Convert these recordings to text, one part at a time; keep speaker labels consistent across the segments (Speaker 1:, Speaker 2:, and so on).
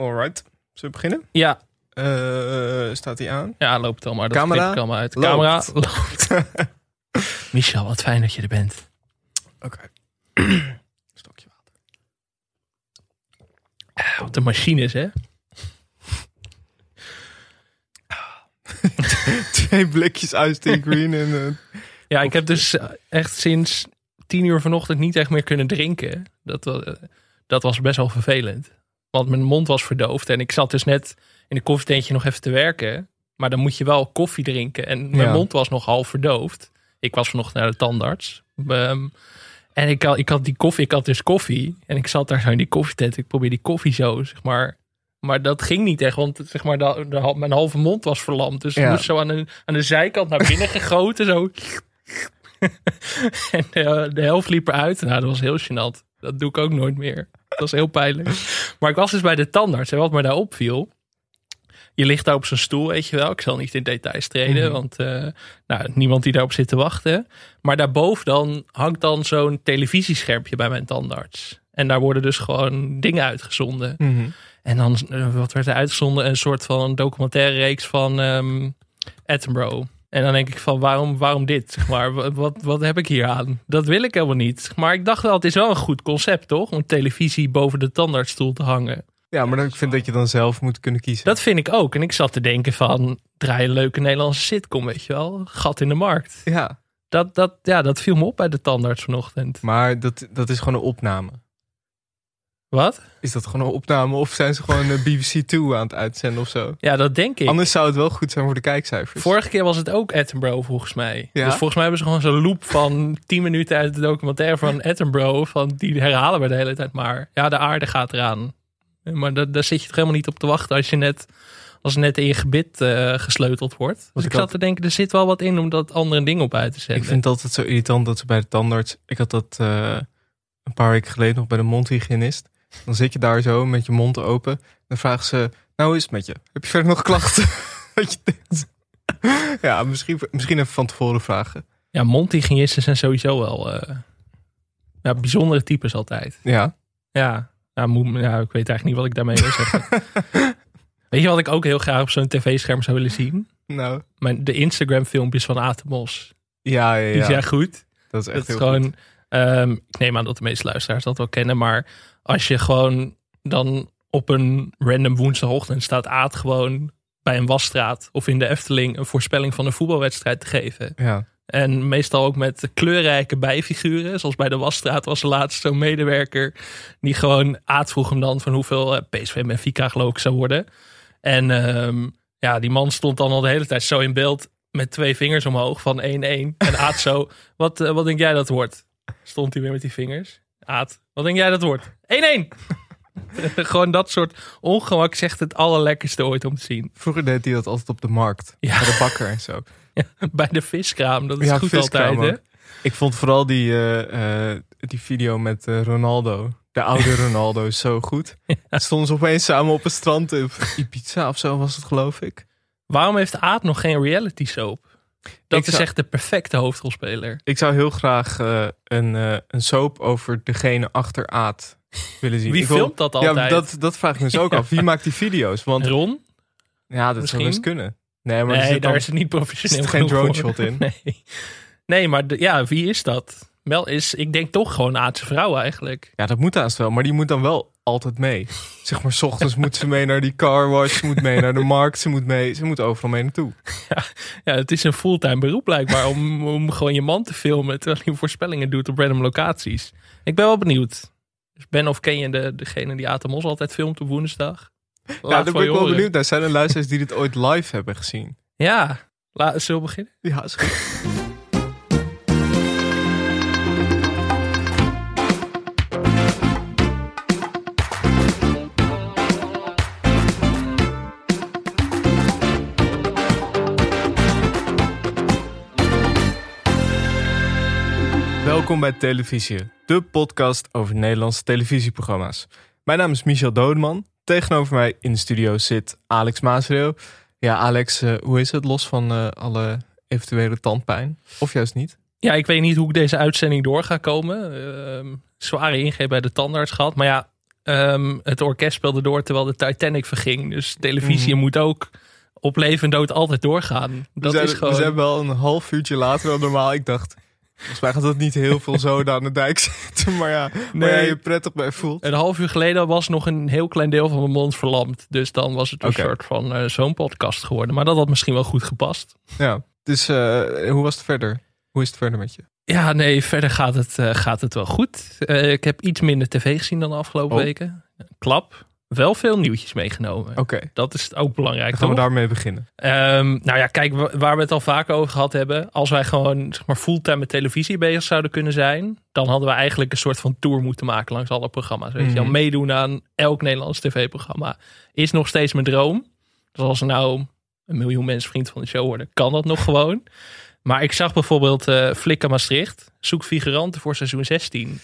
Speaker 1: Alright, zullen we beginnen?
Speaker 2: Ja,
Speaker 1: Eh, staat hij aan?
Speaker 2: ja, loopt al maar. Dat
Speaker 1: Camera
Speaker 2: knipt allemaal uit.
Speaker 1: loopt.
Speaker 2: Camera loopt. Michel, wat fijn dat je er bent.
Speaker 1: Oké. Stokje water.
Speaker 2: Ah, Wat de machines, hè?
Speaker 1: Twee blikjes iced tea green en... eh,
Speaker 2: Ja, ik heb dus eh, echt sinds tien uur vanochtend niet echt meer kunnen drinken. Dat, wa- eh, dat was best wel vervelend. Want mijn mond was verdoofd en ik zat dus net in de koffietentje nog even te werken. Maar dan moet je wel koffie drinken. En mijn
Speaker 1: Ja.
Speaker 2: mond was nog half verdoofd. Ik was vanochtend naar de tandarts. Ehm, en ik had, ik had die koffie, ik had dus koffie. En ik zat daar zo in die koffietent. Ik probeerde die koffie zo, zeg maar. Maar dat ging niet echt, want zeg maar, de, de- mijn halve mond was verlamd. Dus ik
Speaker 1: Ja.
Speaker 2: moest zo aan de, aan de zijkant naar binnen gegoten. Zo. En eh, de helft liep eruit. Nou, dat was heel gênant. Dat doe ik ook nooit meer. Dat was heel pijnlijk. Maar ik was dus bij de tandarts. En wat me daar opviel. Je ligt daar op zijn stoel, weet je wel. Ik zal niet in details treden,
Speaker 1: Mhm.
Speaker 2: want eh, nou, niemand die daarop zit te wachten. Maar daarboven dan hangt dan zo'n televisieschermpje bij mijn tandarts. En daar worden dus gewoon dingen uitgezonden.
Speaker 1: Mhm.
Speaker 2: En dan, eh, wat werd er uitgezonden? Een soort van documentaire reeks van ehm, Attenborough. En dan denk ik van, waarom, waarom dit? Zeg maar, wa- wat, wat heb ik hier aan? Dat wil ik helemaal niet. Maar ik dacht wel, het is wel een goed concept, toch? Om televisie boven de tandartsstoel te hangen.
Speaker 1: Ja, maar dan, ik vind dat je dan zelf moet kunnen kiezen.
Speaker 2: Dat vind ik ook. En ik zat te denken van, draai een leuke Nederlandse sitcom, weet je wel? Gat in de markt.
Speaker 1: Ja,
Speaker 2: Dat, dat, ja, dat viel me op bij de tandarts vanochtend.
Speaker 1: maar dat, dat is gewoon een opname.
Speaker 2: Wat?
Speaker 1: Is dat gewoon een opname of zijn ze gewoon eh, BBC Two aan het uitzenden of zo?
Speaker 2: Ja, dat denk ik.
Speaker 1: Anders zou het wel goed zijn voor de kijkcijfers.
Speaker 2: Vorige keer was het ook Attenborough volgens mij.
Speaker 1: Ja?
Speaker 2: Dus volgens mij hebben ze gewoon zo'n loop van 10 minuten uit de documentaire van Attenborough. Van, die herhalen we de hele tijd maar. Ja, de aarde gaat eraan. Maar da- daar zit je toch helemaal niet op te wachten als je net, als net in je gebit eh, gesleuteld wordt. Dus
Speaker 1: ik
Speaker 2: ik zat
Speaker 1: had-
Speaker 2: te denken, er zit wel wat in om dat andere ding op uit te zetten.
Speaker 1: Ik vind het altijd zo irritant dat ze bij de tandarts... Ik had dat eh, een paar weken geleden nog bij de mondhygiënist. Dan zit je daar zo met je mond open. Dan vragen ze, nou hoe is het met je? Heb je verder nog klachten? Dat je denkt, ja, misschien, misschien even van tevoren vragen.
Speaker 2: Ja, mondhygiënisten zijn sowieso wel eh, ja, bijzondere types altijd.
Speaker 1: Ja.
Speaker 2: Ja, nou, moet, ja, ik weet eigenlijk niet wat ik daarmee wil zeggen. weet je wat ik ook heel graag op zo'n tv-scherm zou willen zien?
Speaker 1: Nou,
Speaker 2: Mijn, de Instagram-filmpjes van Atemos.
Speaker 1: ja, ja,
Speaker 2: Die
Speaker 1: ja.
Speaker 2: zijn goed.
Speaker 1: dat is echt
Speaker 2: Dat is
Speaker 1: heel
Speaker 2: gewoon.
Speaker 1: goed.
Speaker 2: ehm, ik neem aan dat de meeste luisteraars dat wel kennen. Maar als je gewoon dan op een random woensdagochtend staat Aad gewoon bij een wasstraat of in de Efteling een voorspelling van een voetbalwedstrijd te geven.
Speaker 1: Ja.
Speaker 2: En meestal ook met kleurrijke bijfiguren. Zoals bij de Wasstraat was er laatst zo'n medewerker. Die gewoon Aad vroeg hem dan van hoeveel eh, PSV Benfica geloof ik zou worden. En ehm, ja, die man stond dan al de hele tijd zo in beeld. Met twee vingers omhoog van 1-1. En Aad zo, wat, eh, wat denk jij dat wordt? Stond hij weer met die vingers. Aad, wat denk jij dat wordt? 1-1! gewoon dat soort ongemak zegt het allerlekkerste ooit om te zien.
Speaker 1: Vroeger deed hij dat altijd op de markt.
Speaker 2: Ja.
Speaker 1: Bij de bakker en zo.
Speaker 2: Bij de viskraam, dat is
Speaker 1: Ja,
Speaker 2: goed
Speaker 1: viskraam
Speaker 2: altijd hè?
Speaker 1: ook. Ik vond vooral die, eh, eh, die video met eh, Ronaldo, de oude Ronaldo, zo goed. Stonden ze opeens samen op een strand in Ibiza of zo was het, geloof ik.
Speaker 2: Waarom heeft Aad nog geen reality soap? Dat
Speaker 1: Ik
Speaker 2: is
Speaker 1: zou-
Speaker 2: echt de perfecte hoofdrolspeler.
Speaker 1: Ik zou heel graag eh, een, eh, een soap over degene achter Aad willen zien.
Speaker 2: Wie
Speaker 1: Ik wil-
Speaker 2: filmt dat altijd?
Speaker 1: Ja, dat, dat vraag ik me dus ook af. Wie maakt die video's? Want
Speaker 2: Ron?
Speaker 1: ja, dat
Speaker 2: misschien?
Speaker 1: zou best kunnen. Nee, maar er
Speaker 2: Nee,
Speaker 1: zit
Speaker 2: daar
Speaker 1: dan-
Speaker 2: is het niet professioneel
Speaker 1: zit geen
Speaker 2: genoeg
Speaker 1: drone
Speaker 2: voor.
Speaker 1: shot in.
Speaker 2: Nee, nee maar de- ja, wie is dat? Wel is, ik denk toch gewoon Aadse vrouw eigenlijk.
Speaker 1: Ja, dat moet haast wel. Maar die moet dan wel altijd mee. Zeg maar, s ochtends moet ze mee naar die car wash. Ze moet mee naar de markt. Ze moet, mee, ze moet overal mee naartoe.
Speaker 2: Ja, het is een fulltime beroep blijkbaar om, om gewoon je man te filmen terwijl hij voorspellingen doet op random locaties. Ik ben wel benieuwd. Dus ben of ken je de, degene die Atemos altijd filmt op woensdag? Laat
Speaker 1: Ja, daar
Speaker 2: van
Speaker 1: ben
Speaker 2: je
Speaker 1: ik wel
Speaker 2: horen.
Speaker 1: benieuwd naar. Zijn er luisteraars die dit ooit live hebben gezien?
Speaker 2: Ja, La, zullen we beginnen?
Speaker 1: Ja, is goed. Welkom bij Televisie, de podcast over Nederlandse televisieprogramma's. Mijn naam is Michel Dodeman. Tegenover mij in de studio zit Alex Maasreel. Ja, Alex, eh, hoe is het los van eh, alle eventuele tandpijn? Of juist niet?
Speaker 2: Ja, ik weet niet hoe ik deze uitzending door ga komen. Ehm, zware ingreep bij de tandarts gehad. Maar ja, Ehm, het orkest speelde door terwijl de Titanic verging. Dus televisie moet ook op leven en dood altijd doorgaan. Dat
Speaker 1: Mhm. we, zijn,
Speaker 2: is gewoon...
Speaker 1: we zijn wel een half uurtje later dan normaal. Ik dacht, volgens mij gaat dat niet heel veel zoden aan de dijk zitten. Maar ja, waar jij
Speaker 2: Nee.
Speaker 1: je prettig bij voelt.
Speaker 2: Een half uur geleden was nog een heel klein deel van mijn mond verlamd. Dus dan was het een
Speaker 1: Oké.
Speaker 2: soort van eh, zo'n podcast geworden. Maar dat had misschien wel goed gepast.
Speaker 1: Ja, dus eh, hoe was het verder? Hoe is het verder met je?
Speaker 2: Ja, nee, verder gaat het, eh, gaat het wel goed. Eh, ik heb iets minder tv gezien dan de afgelopen
Speaker 1: Oh.
Speaker 2: weken. Klap. Wel veel nieuwtjes meegenomen.
Speaker 1: Oké,
Speaker 2: Dat is ook belangrijk.
Speaker 1: dan gaan we
Speaker 2: toch?
Speaker 1: daarmee beginnen.
Speaker 2: Ehm, nou ja, kijk, wa- waar we het al vaak over gehad hebben. Als wij gewoon zeg maar, fulltime met televisie bezig zouden kunnen zijn. dan hadden we eigenlijk een soort van tour moeten maken langs alle programma's. Weet je wel,
Speaker 1: Mhm.
Speaker 2: meedoen aan elk Nederlands tv-programma. Is nog steeds mijn droom. Dus als er nou een miljoen mensen vriend van de show worden, kan dat nog gewoon. Maar ik zag bijvoorbeeld eh Flikker Maastricht. Zoek figuranten voor seizoen 16.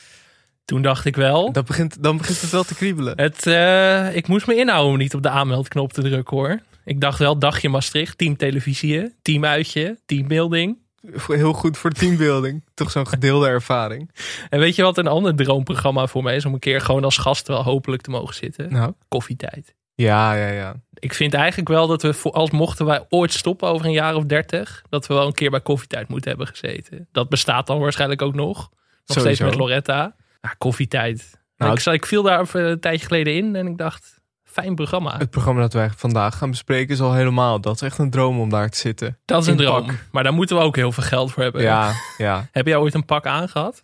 Speaker 2: Toen dacht ik wel.
Speaker 1: Dat begint, dan begint het wel te kriebelen.
Speaker 2: Het, eh, ik moest me inhouden om niet op de aanmeldknop te drukken hoor. Ik dacht wel, dagje Maastricht, team televisie, team uitje, team building.
Speaker 1: Eh, Heel goed voor teambuilding. Toch zo'n gedeelde ervaring.
Speaker 2: En weet je wat een ander droomprogramma voor mij is? Om een keer gewoon als gast wel hopelijk te mogen zitten.
Speaker 1: Nou.
Speaker 2: Koffietijd.
Speaker 1: Ja, ja, ja.
Speaker 2: Ik vind eigenlijk wel dat we, voor, als mochten wij ooit stoppen over een jaar of dertig, dat we wel een keer bij koffietijd moeten hebben gezeten. Dat bestaat dan waarschijnlijk ook nog. Nog steeds
Speaker 1: Sowieso.
Speaker 2: met Loretta. Ja, koffietijd.
Speaker 1: Nou,
Speaker 2: ik, zat- ik viel daar eh, een tijdje geleden in en ik dacht, fijn programma.
Speaker 1: Het programma dat wij vandaag gaan bespreken is al helemaal. Dat is echt een droom om daar te zitten.
Speaker 2: Dat is een
Speaker 1: in
Speaker 2: droom.
Speaker 1: pak.
Speaker 2: Maar daar moeten we ook heel veel geld voor hebben.
Speaker 1: Ja, ja.
Speaker 2: Heb jij ooit een pak aangehad?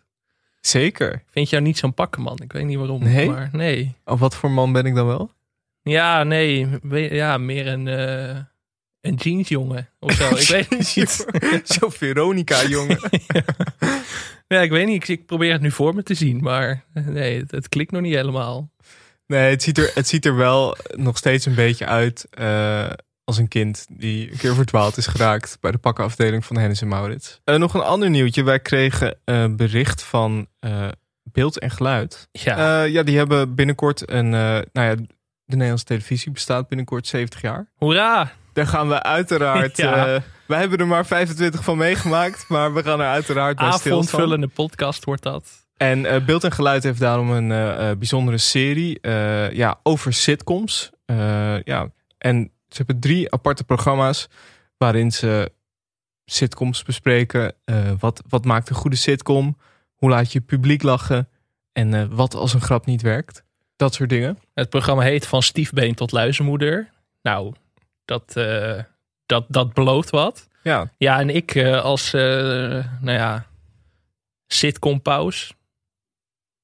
Speaker 1: Zeker.
Speaker 2: Vind jou niet zo'n pakkenman? Ik weet niet waarom.
Speaker 1: Nee?
Speaker 2: Maar nee.
Speaker 1: Of wat voor man ben ik dan wel?
Speaker 2: Ja, nee. We- Ja, meer een, eh een jeansjongen of zo. ik weet het niet.
Speaker 1: Zo'n Veronica, jongen.
Speaker 2: Ja, ik weet niet. Ik, ik probeer het nu voor me te zien. Maar eh, nee, het, het klikt nog niet helemaal.
Speaker 1: Nee, het ziet, er, het ziet er wel nog steeds een beetje uit eh, als een kind die een keer verdwaald is geraakt bij de pakkenafdeling van Hennis en Maurits. Eh, nog een ander nieuwtje. Wij kregen een bericht van eh, Beeld en Geluid.
Speaker 2: Ja,
Speaker 1: Eh, ja, die hebben binnenkort een. eh, nou ja, de Nederlandse televisie bestaat binnenkort 70 jaar.
Speaker 2: hoera.
Speaker 1: Daar gaan we uiteraard.
Speaker 2: Ja.
Speaker 1: eh, wij hebben er maar 25 van meegemaakt, maar we gaan er uiteraard bij stilstaan.
Speaker 2: Avondvullende podcast wordt dat.
Speaker 1: En eh, Beeld en Geluid heeft daarom een eh, eh, bijzondere serie eh, ja, over sitcoms. Eh, ja. En ze hebben drie aparte programma's waarin ze sitcoms bespreken. Eh, wat, wat maakt een goede sitcom? Hoe laat je publiek lachen? En eh, wat als een grap niet werkt? Dat soort dingen.
Speaker 2: Het programma heet Van Stiefbeen tot Luizenmoeder. Nou, dat, eh, dat, dat belooft wat.
Speaker 1: Ja,
Speaker 2: Ja, en ik eh, als, eh, nou ja, sitcom paus.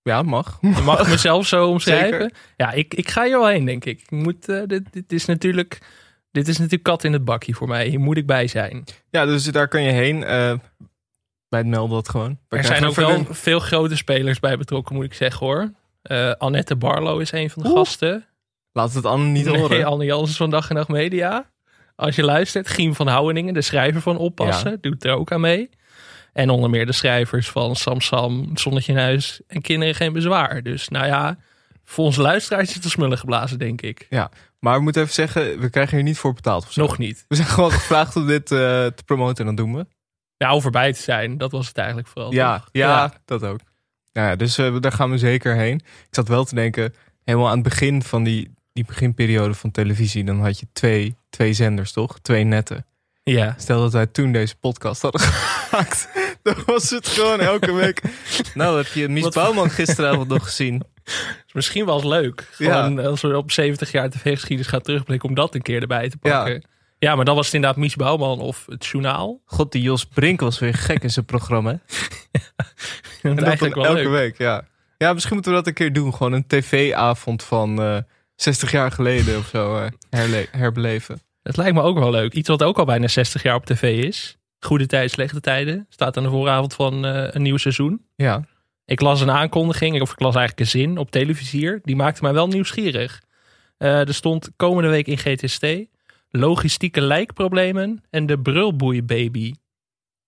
Speaker 1: ja mag.
Speaker 2: Je mag mezelf zo omschrijven. Ja, ik, ik ga hier wel heen, denk ik. ik moet, eh, dit, dit is natuurlijk, dit is natuurlijk kat in het bakje voor mij. Hier moet ik bij zijn.
Speaker 1: Ja, dus daar kan je heen. eh, bij het melden dat gewoon. Wij
Speaker 2: Er
Speaker 1: krijgen
Speaker 2: zijn ook
Speaker 1: verder-
Speaker 2: wel veel grote spelers bij betrokken, moet ik zeggen hoor. Eh, Annette Barlo is een van de
Speaker 1: Oeh,
Speaker 2: gasten.
Speaker 1: Laat het Anne niet
Speaker 2: Nee,
Speaker 1: horen.
Speaker 2: Anne Janssens van Dag en Nacht Media. Als je luistert, Giem van Houweningen, de schrijver van Oppassen, doet er ook aan mee. En onder meer de schrijvers van Sam Sam, Zonnetje in Huis en Kinderen Geen Bezwaar. Dus nou ja, voor onze luisteraars is het een smullen geblazen, denk ik.
Speaker 1: Maar we moeten even zeggen, we krijgen hier niet voor betaald. of zo.
Speaker 2: Nog niet.
Speaker 1: We zijn gewoon gevraagd om dit eh, te promoten en dat doen we.
Speaker 2: Nou, voorbij te zijn, dat was het eigenlijk vooral.
Speaker 1: Ja,
Speaker 2: toch?
Speaker 1: ja, dat ook. Nou ja, dus eh, daar gaan we zeker heen. Ik zat wel te denken, helemaal aan het begin van die, die beginperiode van televisie, dan had je twee, twee zenders, toch? Twee netten.
Speaker 2: Ja.
Speaker 1: Stel dat wij toen deze podcast hadden gemaakt, dan was het gewoon elke week. Nou, heb je Mies
Speaker 2: Wat-
Speaker 1: Bouwman gisteravond nog gezien?
Speaker 2: Dus misschien was het leuk.
Speaker 1: Ja.
Speaker 2: Gewoon eh, als we op 70 jaar tv-geschiedenis gaan terugblikken om dat een keer erbij te
Speaker 1: Ja.
Speaker 2: pakken. Ja, maar dan was het inderdaad Mies Bouwman of het journaal.
Speaker 1: God, die Jos Brink was weer gek in zijn programma. hè?
Speaker 2: En
Speaker 1: En dat dan
Speaker 2: eigenlijk wel
Speaker 1: elke
Speaker 2: leuk.
Speaker 1: week, ja. Ja, misschien moeten we dat een keer doen. Gewoon een tv-avond van eh, 60 jaar geleden of zo eh, herle- herbeleven.
Speaker 2: Het lijkt me ook wel leuk. Iets wat ook al bijna 60 jaar op tv is. Goede tijden, slechte tijden. Staat aan de vooravond van eh, een nieuw seizoen.
Speaker 1: Ja,
Speaker 2: Ik las een aankondiging, of ik las eigenlijk een zin op televisier. Die maakte mij wel nieuwsgierig. Eh, er stond komende week in GTST... logistieke lijkproblemen en de brulboeibaby.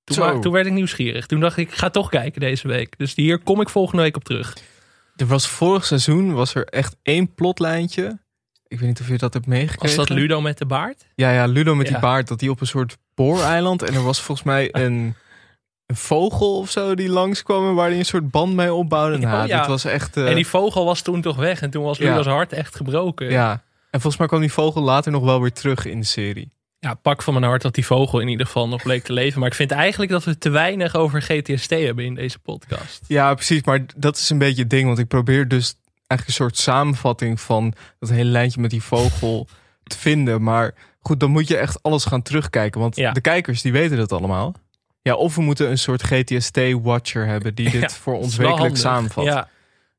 Speaker 2: Toen,
Speaker 1: Zo.
Speaker 2: wa- toen werd ik nieuwsgierig. Toen dacht ik, ik ga toch kijken deze week. Dus hier kom ik volgende week op terug.
Speaker 1: er was vorig seizoen was er echt één plotlijntje. Ik weet niet of je dat hebt meegekregen.
Speaker 2: Was dat Ludo met de baard?
Speaker 1: Ja, ja, Ludo met
Speaker 2: Ja.
Speaker 1: die baard. Dat die op een soort booreiland. En er was volgens mij een, een vogel of zo die langskwam en waar hij een soort band mee opbouwde.
Speaker 2: Ja,
Speaker 1: nou,
Speaker 2: Oh, ja.
Speaker 1: dat was echt... eh,
Speaker 2: En die vogel was toen toch weg. En toen was
Speaker 1: Ja.
Speaker 2: Ludas hart echt gebroken.
Speaker 1: ja. En volgens mij kwam die vogel later nog wel weer terug in de serie.
Speaker 2: Ja, pak van mijn hart dat die vogel in ieder geval nog bleek te leven. Maar ik vind eigenlijk dat we te weinig over GTST hebben in deze podcast.
Speaker 1: Ja, precies. Maar dat is een beetje het ding. Want ik probeer dus eigenlijk een soort samenvatting van dat hele lijntje met die vogel te vinden. Maar goed, dan moet je echt alles gaan terugkijken. Want
Speaker 2: Ja.
Speaker 1: de kijkers die weten dat allemaal. Ja, of we moeten een soort GTST-watcher hebben die dit
Speaker 2: Ja,
Speaker 1: voor
Speaker 2: Dat
Speaker 1: ons
Speaker 2: is wel
Speaker 1: wekelijks
Speaker 2: handig.
Speaker 1: samenvat.
Speaker 2: Ja.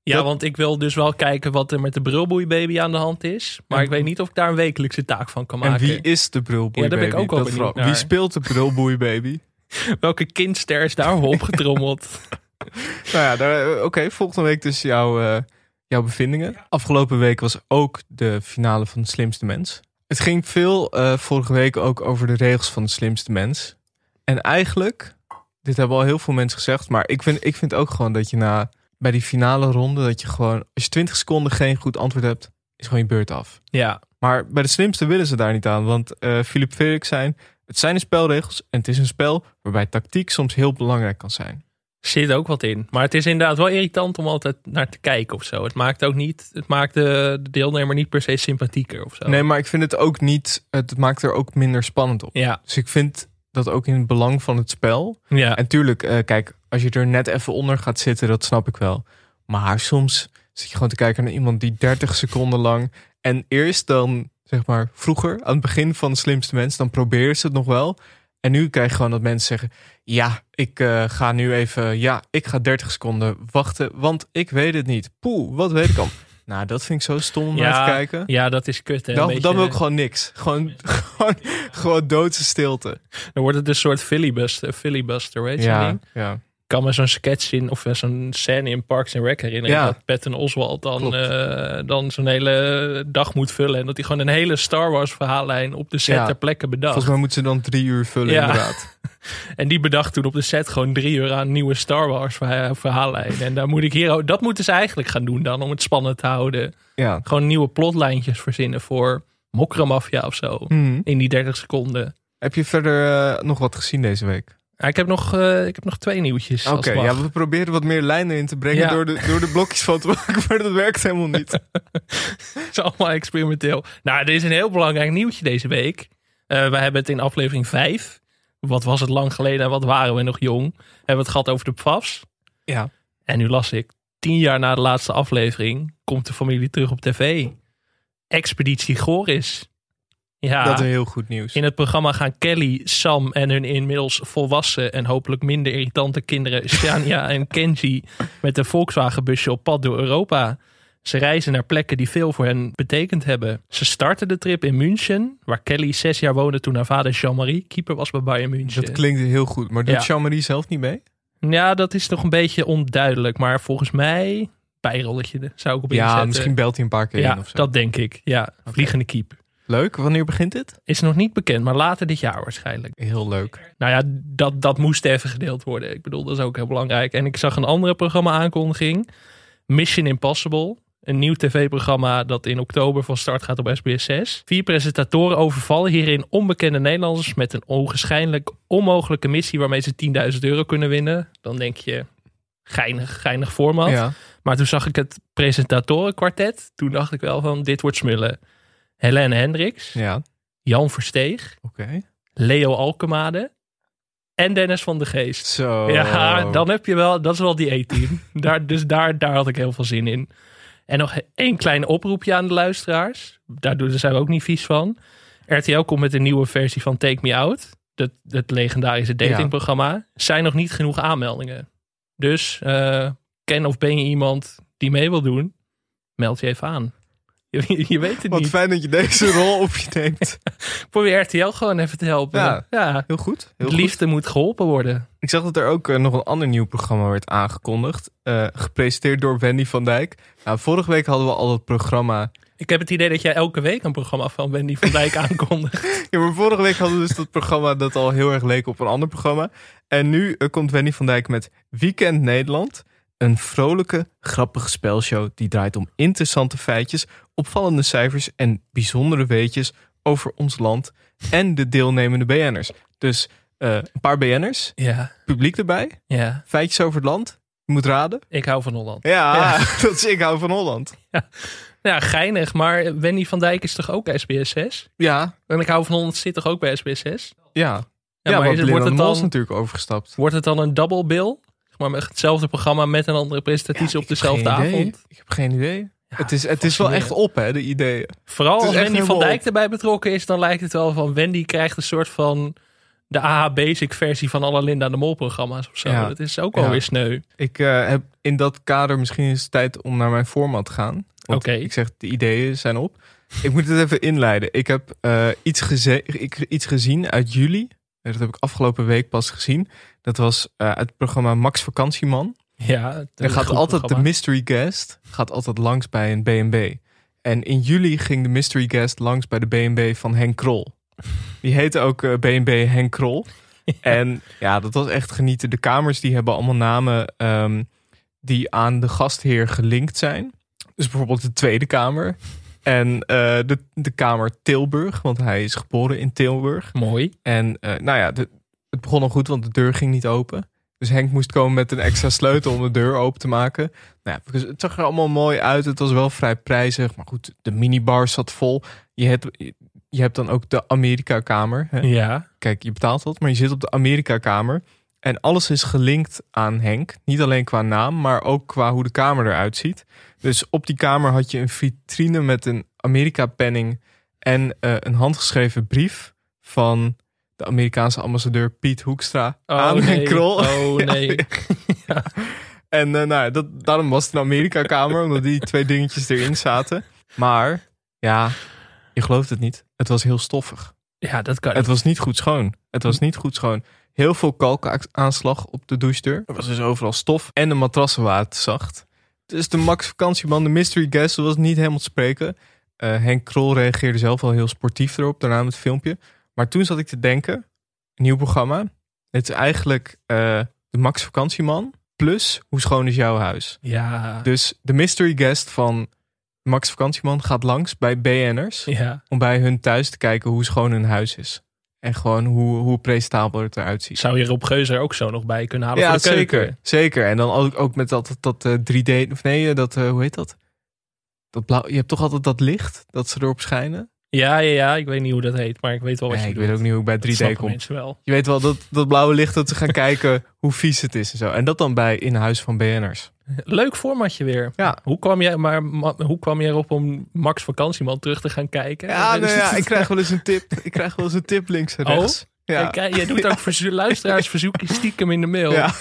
Speaker 2: Ja,
Speaker 1: Dat-
Speaker 2: want ik wil dus wel kijken wat er met de brulboeibaby aan de hand is. Maar
Speaker 1: En-
Speaker 2: ik weet niet of ik daar een wekelijkse taak van kan
Speaker 1: En
Speaker 2: maken.
Speaker 1: wie is de brulboeibaby?
Speaker 2: Ja, daar ben ik ook
Speaker 1: Dat
Speaker 2: wel benieuwd
Speaker 1: vooral.
Speaker 2: naar.
Speaker 1: Wie speelt de brulboeibaby?
Speaker 2: Welke kindster is daarvoor opgetrommeld?
Speaker 1: Nou ja, daar- oké. volgende week dus jouw, eh, jouw bevindingen. Afgelopen week was ook de finale van de slimste mens. Het ging veel eh, vorige week ook over de regels van de slimste mens. En eigenlijk, dit hebben al heel veel mensen gezegd, maar ik vind, ik vind ook gewoon dat je na bij die finale ronde, dat je gewoon, als je 20 seconden geen goed antwoord hebt, is gewoon je beurt af.
Speaker 2: ja,
Speaker 1: Maar bij de slimste willen ze daar niet aan. Want eh Philip Felix zijn, het zijn de spelregels en het is een spel waarbij tactiek soms heel belangrijk kan zijn.
Speaker 2: zit ook wat in. Maar het is inderdaad wel irritant om altijd naar te kijken of zo. Het maakt ook niet, het maakt de, de deelnemer niet per se sympathieker of zo.
Speaker 1: Nee, maar ik vind het ook niet, het maakt er ook minder spannend op.
Speaker 2: Ja,
Speaker 1: Dus ik vind dat ook in het belang van het spel.
Speaker 2: ja.
Speaker 1: En tuurlijk, eh, kijk, als je er net even onder gaat zitten, dat snap ik wel. Maar soms zit je gewoon te kijken naar iemand die 30 seconden lang. En eerst dan, zeg maar, vroeger, aan het begin van de slimste mens, dan probeer ze het nog wel. En nu krijg je gewoon dat mensen zeggen: Ja, ik eh, ga nu even, ja, ik ga 30 seconden wachten, want ik weet het niet. Poeh, wat weet ik al? Nou, dat vind ik zo stom om naar
Speaker 2: Ja,
Speaker 1: te kijken.
Speaker 2: ja, dat is kut. Hè? Een
Speaker 1: Dan, dan
Speaker 2: beetje- eh,
Speaker 1: wil ik gewoon niks. Gewoon, gewoon, gewoon doodse stilte.
Speaker 2: Dan wordt het een soort filibuster, filibuster weet je wel.
Speaker 1: ja, ja.
Speaker 2: Ik kan me zo'n sketch in, of eh, zo'n scène in Parks and Rec herinneren.
Speaker 1: Ja.
Speaker 2: Dat Patton Oswald dan,
Speaker 1: Klopt.
Speaker 2: eh, dan zo'n hele dag moet vullen. En dat hij gewoon een hele Star Wars verhaallijn op de set
Speaker 1: Ja.
Speaker 2: ter plekke bedacht.
Speaker 1: Volgens mij moeten ze dan drie uur vullen,
Speaker 2: Ja.
Speaker 1: inderdaad.
Speaker 2: En die bedacht toen op de set gewoon drie uur aan nieuwe Star Wars verha- verhaallijn. En daar moet ik hier, ook- dat moeten ze eigenlijk gaan doen dan, om het spannend te houden.
Speaker 1: Ja.
Speaker 2: Gewoon nieuwe plotlijntjes verzinnen voor Mokramafia of zo. In die 30 seconden.
Speaker 1: Mhm. Heb je verder eh, nog wat gezien deze week?
Speaker 2: Ja, ik, heb nog, eh, ik heb nog twee nieuwtjes. als
Speaker 1: Oké,
Speaker 2: het mag.
Speaker 1: ja, we proberen wat meer lijnen in te brengen
Speaker 2: Ja.
Speaker 1: door, de, door de blokjes van te maken, maar dat werkt helemaal niet.
Speaker 2: Het is allemaal experimenteel. Nou, er is een heel belangrijk nieuwtje deze week. Eh, we hebben het in aflevering 5. Wat was het lang geleden en wat waren we nog jong? Hebben we het gehad over de PFAS.
Speaker 1: Ja.
Speaker 2: En nu las ik, tien jaar na de laatste aflevering komt de familie terug op tv. Expeditie Goris. Ja,
Speaker 1: Dat is heel goed nieuws.
Speaker 2: in het programma gaan Kelly, Sam en hun inmiddels volwassen en hopelijk minder irritante kinderen Shania en Kenji met een Volkswagenbusje op pad door Europa. Ze reizen naar plekken die veel voor hen betekend hebben. Ze starten de trip in München, waar Kelly zes jaar woonde toen haar vader Jean-Marie keeper was bij Bayern München.
Speaker 1: Dat klinkt heel goed, maar doet
Speaker 2: Ja.
Speaker 1: Jean-Marie zelf niet mee?
Speaker 2: ja, dat is nog een beetje onduidelijk, maar volgens mij bijrolletje er- zou ik op
Speaker 1: Ja,
Speaker 2: inzetten.
Speaker 1: misschien belt hij een paar keer
Speaker 2: ja,
Speaker 1: in of zo.
Speaker 2: dat denk ik. Ja, vliegende keeper.
Speaker 1: Leuk, wanneer begint dit?
Speaker 2: Is nog niet bekend, maar later dit jaar waarschijnlijk.
Speaker 1: Heel leuk.
Speaker 2: Nou ja, dat, dat moest even gedeeld worden. Ik bedoel, dat is ook heel belangrijk. En ik zag een andere programma-aankondiging. Mission Impossible. Een nieuw tv-programma dat in oktober van start gaat op SBS6. Vier presentatoren overvallen hierin onbekende Nederlanders... met een onwaarschijnlijk onmogelijke missie... waarmee ze 10.000 euro kunnen winnen. Dan denk je, geinig, geinig format.
Speaker 1: Ja.
Speaker 2: Maar toen zag ik het presentatorenkwartet. Toen dacht ik wel van, dit wordt smullen. Helene Hendricks,
Speaker 1: Ja, oké.
Speaker 2: Jan Versteeg... Leo Alkemade en Dennis van de Geest.
Speaker 1: Zo.
Speaker 2: Ja,
Speaker 1: Oh.
Speaker 2: dan heb je wel, dat is wel die E-team. daar, dus daar, daar had ik heel veel zin in. En nog één klein oproepje aan de luisteraars. Daardoor daar zijn we ook niet vies van. RTL komt met een nieuwe versie van Take Me Out. Dat, het legendarische datingprogramma. Zijn nog niet genoeg aanmeldingen. Dus eh, ken of ben je iemand die mee wil doen? Meld je even aan. Je, je weet het
Speaker 1: Wat
Speaker 2: niet.
Speaker 1: fijn dat je deze rol op je neemt.
Speaker 2: Probeer RTL gewoon even te helpen.
Speaker 1: Ja.
Speaker 2: ja.
Speaker 1: Heel goed. Heel
Speaker 2: Het
Speaker 1: goed.
Speaker 2: liefde moet geholpen worden.
Speaker 1: Ik zag dat er ook eh, nog een ander nieuw programma werd aangekondigd. eh, gepresenteerd door Wendy van Dijk. Nou, vorige week hadden we al dat programma
Speaker 2: Ik heb het idee dat jij elke week een programma van Wendy van Dijk aankondigt.
Speaker 1: Ja, maar vorige week hadden we dus dat programma dat al heel erg leek op een ander programma. En nu eh, komt Wendy van Dijk met Weekend Nederland. Een vrolijke, grappige spelshow die draait om interessante feitjes, opvallende cijfers en bijzondere weetjes over ons land en de deelnemende BN'ers. Dus eh, eh, een paar BN'ers,
Speaker 2: Ja,
Speaker 1: publiek erbij,
Speaker 2: ja.
Speaker 1: feitjes over het land. Je moet raden.
Speaker 2: Ik hou van Holland.
Speaker 1: Ja,
Speaker 2: Ja.
Speaker 1: dat is Ik hou van Holland.
Speaker 2: Ja, Nou, geinig. Maar Wendy van Dijk is toch ook SBS 6?
Speaker 1: Ja,
Speaker 2: En ik hou van Holland zit toch ook bij SBS 6?
Speaker 1: ja.
Speaker 2: Ja,
Speaker 1: Ja,
Speaker 2: maar
Speaker 1: want
Speaker 2: is het-
Speaker 1: Linda
Speaker 2: wordt,
Speaker 1: de
Speaker 2: het
Speaker 1: Mol is
Speaker 2: dan,
Speaker 1: natuurlijk overgestapt.
Speaker 2: wordt het dan een double bill? Zeg maar met hetzelfde programma met een andere presentatrice op
Speaker 1: ik heb
Speaker 2: dezelfde
Speaker 1: geen idee.
Speaker 2: avond?
Speaker 1: Ik heb geen idee. het is, het is wel echt op, hè, de ideeën.
Speaker 2: Vooral
Speaker 1: Het is
Speaker 2: als
Speaker 1: echt
Speaker 2: Wendy van
Speaker 1: helemaal
Speaker 2: Dijk
Speaker 1: op.
Speaker 2: erbij betrokken is, dan lijkt het wel van Wendy krijgt een soort van de AH Basic versie van alle Linda de Mol programma's of zo.
Speaker 1: Ja.
Speaker 2: Dat is ook wel
Speaker 1: Ja.
Speaker 2: weer sneu.
Speaker 1: Ik eh, heb in dat kader misschien is het tijd om naar mijn format te gaan. Want
Speaker 2: Oké.
Speaker 1: Ik zeg, de ideeën zijn op. Ik moet het even inleiden. Ik heb eh, iets, geze- ik, iets gezien uit juli. Dat heb ik afgelopen week pas gezien. Dat was eh, uit het programma Max Vakantieman.
Speaker 2: Ja, het
Speaker 1: Er
Speaker 2: is een
Speaker 1: gaat
Speaker 2: goed
Speaker 1: altijd de
Speaker 2: programma.
Speaker 1: mystery guest gaat altijd langs bij een B&B. En in juli ging de mystery guest langs bij de B&B van Henk Krol. Die heette ook eh, B&B Henk Krol. En ja, dat was echt genieten. De kamers die hebben allemaal namen ehm, die aan de gastheer gelinkt zijn. Dus bijvoorbeeld de Tweede Kamer. En eh, de, de Kamer Tilburg, want hij is geboren in Tilburg.
Speaker 2: Mooi.
Speaker 1: En eh, nou ja, de- het begon al goed, want de deur ging niet open. Dus Henk moest komen met een extra sleutel om de deur open te maken. Nou ja, dus het zag er allemaal mooi uit. Het was wel vrij prijzig. Maar goed, de minibar zat vol. Je hebt, je hebt dan ook de Amerika-kamer. hè.
Speaker 2: Ja.
Speaker 1: Kijk, je betaalt wat, maar je zit op de Amerika-kamer. En alles is gelinkt aan Henk. Niet alleen qua naam, maar ook qua hoe de kamer eruit ziet. Dus op die kamer had je een vitrine met een Amerika-penning en eh, een handgeschreven brief van de Amerikaanse ambassadeur Piet Hoekstra aan Henk Krol.
Speaker 2: Oh nee.
Speaker 1: Ja, En eh, nou, ja, dat, daarom was het een Amerika-kamer, omdat die twee dingetjes erin zaten. Maar ja, je gelooft het niet. Het was heel stoffig.
Speaker 2: Ja, dat kan
Speaker 1: Het was niet goed schoon. Het was niet goed schoon. Heel veel kalkaanslag op de douchedeur. Er was dus overal stof. En de matrassen waren te zacht. Dus de Max Vakantieman, de mystery guest, was niet helemaal te spreken. Eh, Henk Krol reageerde zelf wel heel sportief erop, daarna met het filmpje. Maar toen zat ik te denken, een nieuw programma. Het is eigenlijk eh, de Max Vakantieman plus Hoe Schoon Is Jouw Huis?
Speaker 2: Ja.
Speaker 1: Dus de mystery guest van Max Vakantieman gaat langs bij BN'ers
Speaker 2: ja.
Speaker 1: om bij hun thuis te kijken hoe schoon hun huis is. En gewoon hoe, hoe presentabel het eruit ziet.
Speaker 2: Zou je Rob Geuze er ook zo nog bij kunnen halen
Speaker 1: ja,
Speaker 2: voor de keuken?
Speaker 1: zeker. Zeker. En dan ook, ook met dat, dat eh, 3D. Of nee, eh, dat, eh, hoe heet dat? dat blauw, je hebt toch altijd dat licht dat ze erop schijnen?
Speaker 2: Ja, ja, ja. Ik weet niet hoe dat heet, maar ik weet wel wat
Speaker 1: Nee,
Speaker 2: je
Speaker 1: ik
Speaker 2: bedoelt.
Speaker 1: weet ook niet hoe ik bij
Speaker 2: Dat
Speaker 1: 3D
Speaker 2: snappen
Speaker 1: kom.
Speaker 2: mensen wel.
Speaker 1: Je weet wel dat, dat blauwe licht dat ze gaan kijken hoe vies het is en zo. En dat dan bij in huis van BN'ers.
Speaker 2: Leuk formatje weer.
Speaker 1: Ja.
Speaker 2: Hoe kwam jij, maar, ma- hoe kwam jij erop om Max Vakantieman terug te gaan kijken?
Speaker 1: Ja, nou ja, ik
Speaker 2: ik...
Speaker 1: krijg wel eens een tip. Ik krijg wel eens een tip links en
Speaker 2: Oh?
Speaker 1: rechts. Ja.
Speaker 2: jij doet ook verzu- luisteraarsverzoekjes stiekem in de mail.
Speaker 1: Ja.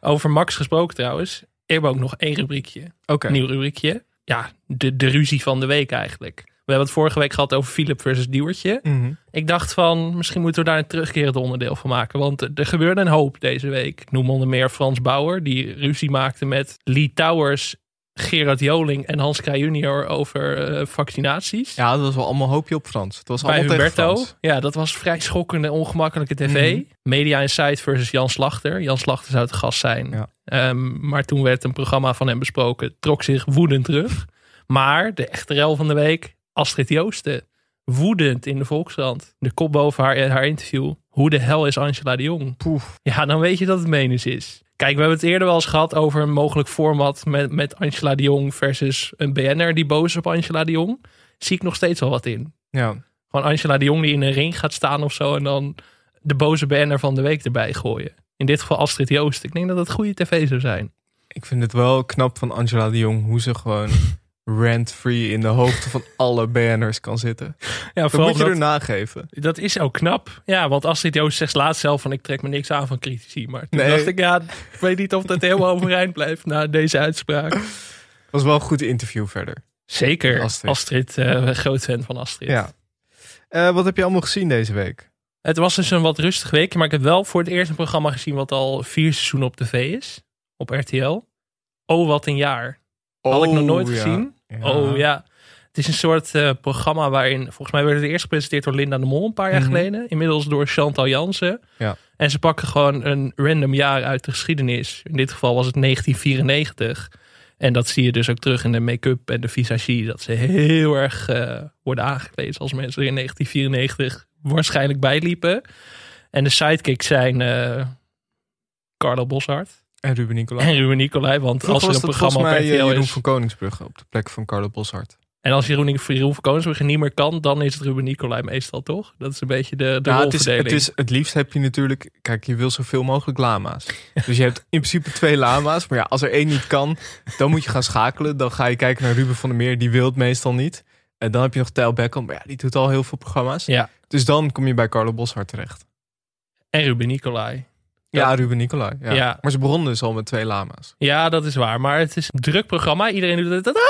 Speaker 2: Over Max gesproken trouwens. Ik heb ook nog één rubriekje.
Speaker 1: Oké.
Speaker 2: Nieuw rubriekje. Ja, de, de ruzie van de week eigenlijk. We hebben het vorige week gehad over Philip versus Diewertje.
Speaker 1: Mhm.
Speaker 2: Ik dacht van, misschien moeten we daar een terugkerend onderdeel van maken. Want er gebeurde een hoop deze week. Ik noem onder meer Frans Bauer, die ruzie maakte met Lee Towers, Gerard Joling en Hans Kraaij junior over eh, vaccinaties.
Speaker 1: Ja, dat was wel allemaal hoopje op Frans. Het was
Speaker 2: Bij
Speaker 1: allemaal tegen
Speaker 2: Humberto.
Speaker 1: Frans.
Speaker 2: Ja, dat was vrij schokkende, ongemakkelijke tv.
Speaker 1: Mhm.
Speaker 2: Media Insight versus Jan Slachter. Jan Slachter zou te gast zijn.
Speaker 1: Ja.
Speaker 2: Ehm, maar toen werd een programma van hem besproken. Trok zich woedend terug. Maar de echte rel van de week, Astrid Joosten. Woedend in de Volkskrant. De kop boven haar, haar interview. Hoe de hel is Angela de Jong?
Speaker 1: Poef.
Speaker 2: Ja, dan weet je dat het menens is. Kijk, we hebben het eerder wel eens gehad over een mogelijk format met, met Angela de Jong versus een BN'er die boos is op Angela de Jong. Zie ik nog steeds wel wat in.
Speaker 1: Ja.
Speaker 2: Gewoon Angela de Jong die in een ring gaat staan of zo. En dan de boze banner van de week erbij gooien. In dit geval Astrid Joost. Ik denk dat dat goede tv zou zijn.
Speaker 1: Ik vind het wel knap van Angela de Jong hoe ze gewoon rent-free in de hoogte van alle banners kan zitten.
Speaker 2: Ja,
Speaker 1: Dat moet je
Speaker 2: dat,
Speaker 1: er nageven.
Speaker 2: dat is ook knap. Ja, want Astrid Joost zegt laatst zelf van ik trek me niks aan van critici. Maar toen
Speaker 1: Nee.
Speaker 2: dacht ik, ja, ik weet niet of dat helemaal overeind blijft na deze uitspraak.
Speaker 1: Was wel een goed interview verder.
Speaker 2: Zeker. Astrid,
Speaker 1: Astrid.
Speaker 2: eh, groot fan van Astrid.
Speaker 1: Ja. Eh, wat heb je allemaal gezien deze week?
Speaker 2: Het was dus een wat rustig weekje, maar ik heb wel voor het eerst een programma gezien wat al vier seizoenen op tv is. Op RTL. Oh, wat een jaar. Had ik nog nooit
Speaker 1: Oh, ja.
Speaker 2: gezien.
Speaker 1: Ja.
Speaker 2: Oh ja. Het is een soort eh, programma waarin, volgens mij werd het eerst gepresenteerd door Linda de Mol een paar jaar
Speaker 1: Mhm.
Speaker 2: geleden. Inmiddels door Chantal Jansen.
Speaker 1: Ja.
Speaker 2: En ze pakken gewoon een random jaar uit de geschiedenis. In dit geval was het 1994. En dat zie je dus ook terug in de make-up en de visagie. Dat ze heel erg eh, worden aangekleed als mensen er in 1994 waarschijnlijk bijliepen. En de sidekicks zijn eh Carlo Boshart
Speaker 1: En Ruben Nicolai.
Speaker 2: en Ruben Nicolai. Want
Speaker 1: Vroeger
Speaker 2: als
Speaker 1: was
Speaker 2: er een
Speaker 1: dat
Speaker 2: programma
Speaker 1: volgens
Speaker 2: op
Speaker 1: mij eh,
Speaker 2: RTL
Speaker 1: Jeroen
Speaker 2: is...
Speaker 1: van Koningsbrugge op de plek van Carlo Boshart.
Speaker 2: En als Jeroen, Jeroen van Koningsbrugge niet meer kan, dan is het Ruben Nicolai meestal toch? Dat is een beetje de, de
Speaker 1: Nou, het, is,
Speaker 2: rolverdeling.
Speaker 1: het, is, het liefst heb je natuurlijk, kijk, je wil zoveel mogelijk lama's. Dus je hebt in principe twee lama's. Maar ja, als er één niet kan, dan moet je gaan schakelen. Dan ga je kijken naar Ruben van der Meer, die wil het meestal niet. En dan heb je nog Tijl Beckham, maar ja, die doet al heel veel programma's.
Speaker 2: Ja.
Speaker 1: Dus dan kom je bij Carlo Boshart terecht.
Speaker 2: En Ruben Nicolai.
Speaker 1: Ja,
Speaker 2: Ja.
Speaker 1: Ruben Nicolai. Ja.
Speaker 2: Ja.
Speaker 1: Maar ze begonnen dus al met twee lama's.
Speaker 2: Ja, dat is waar. Maar het is een druk programma. Iedereen doet het. Dat, ah!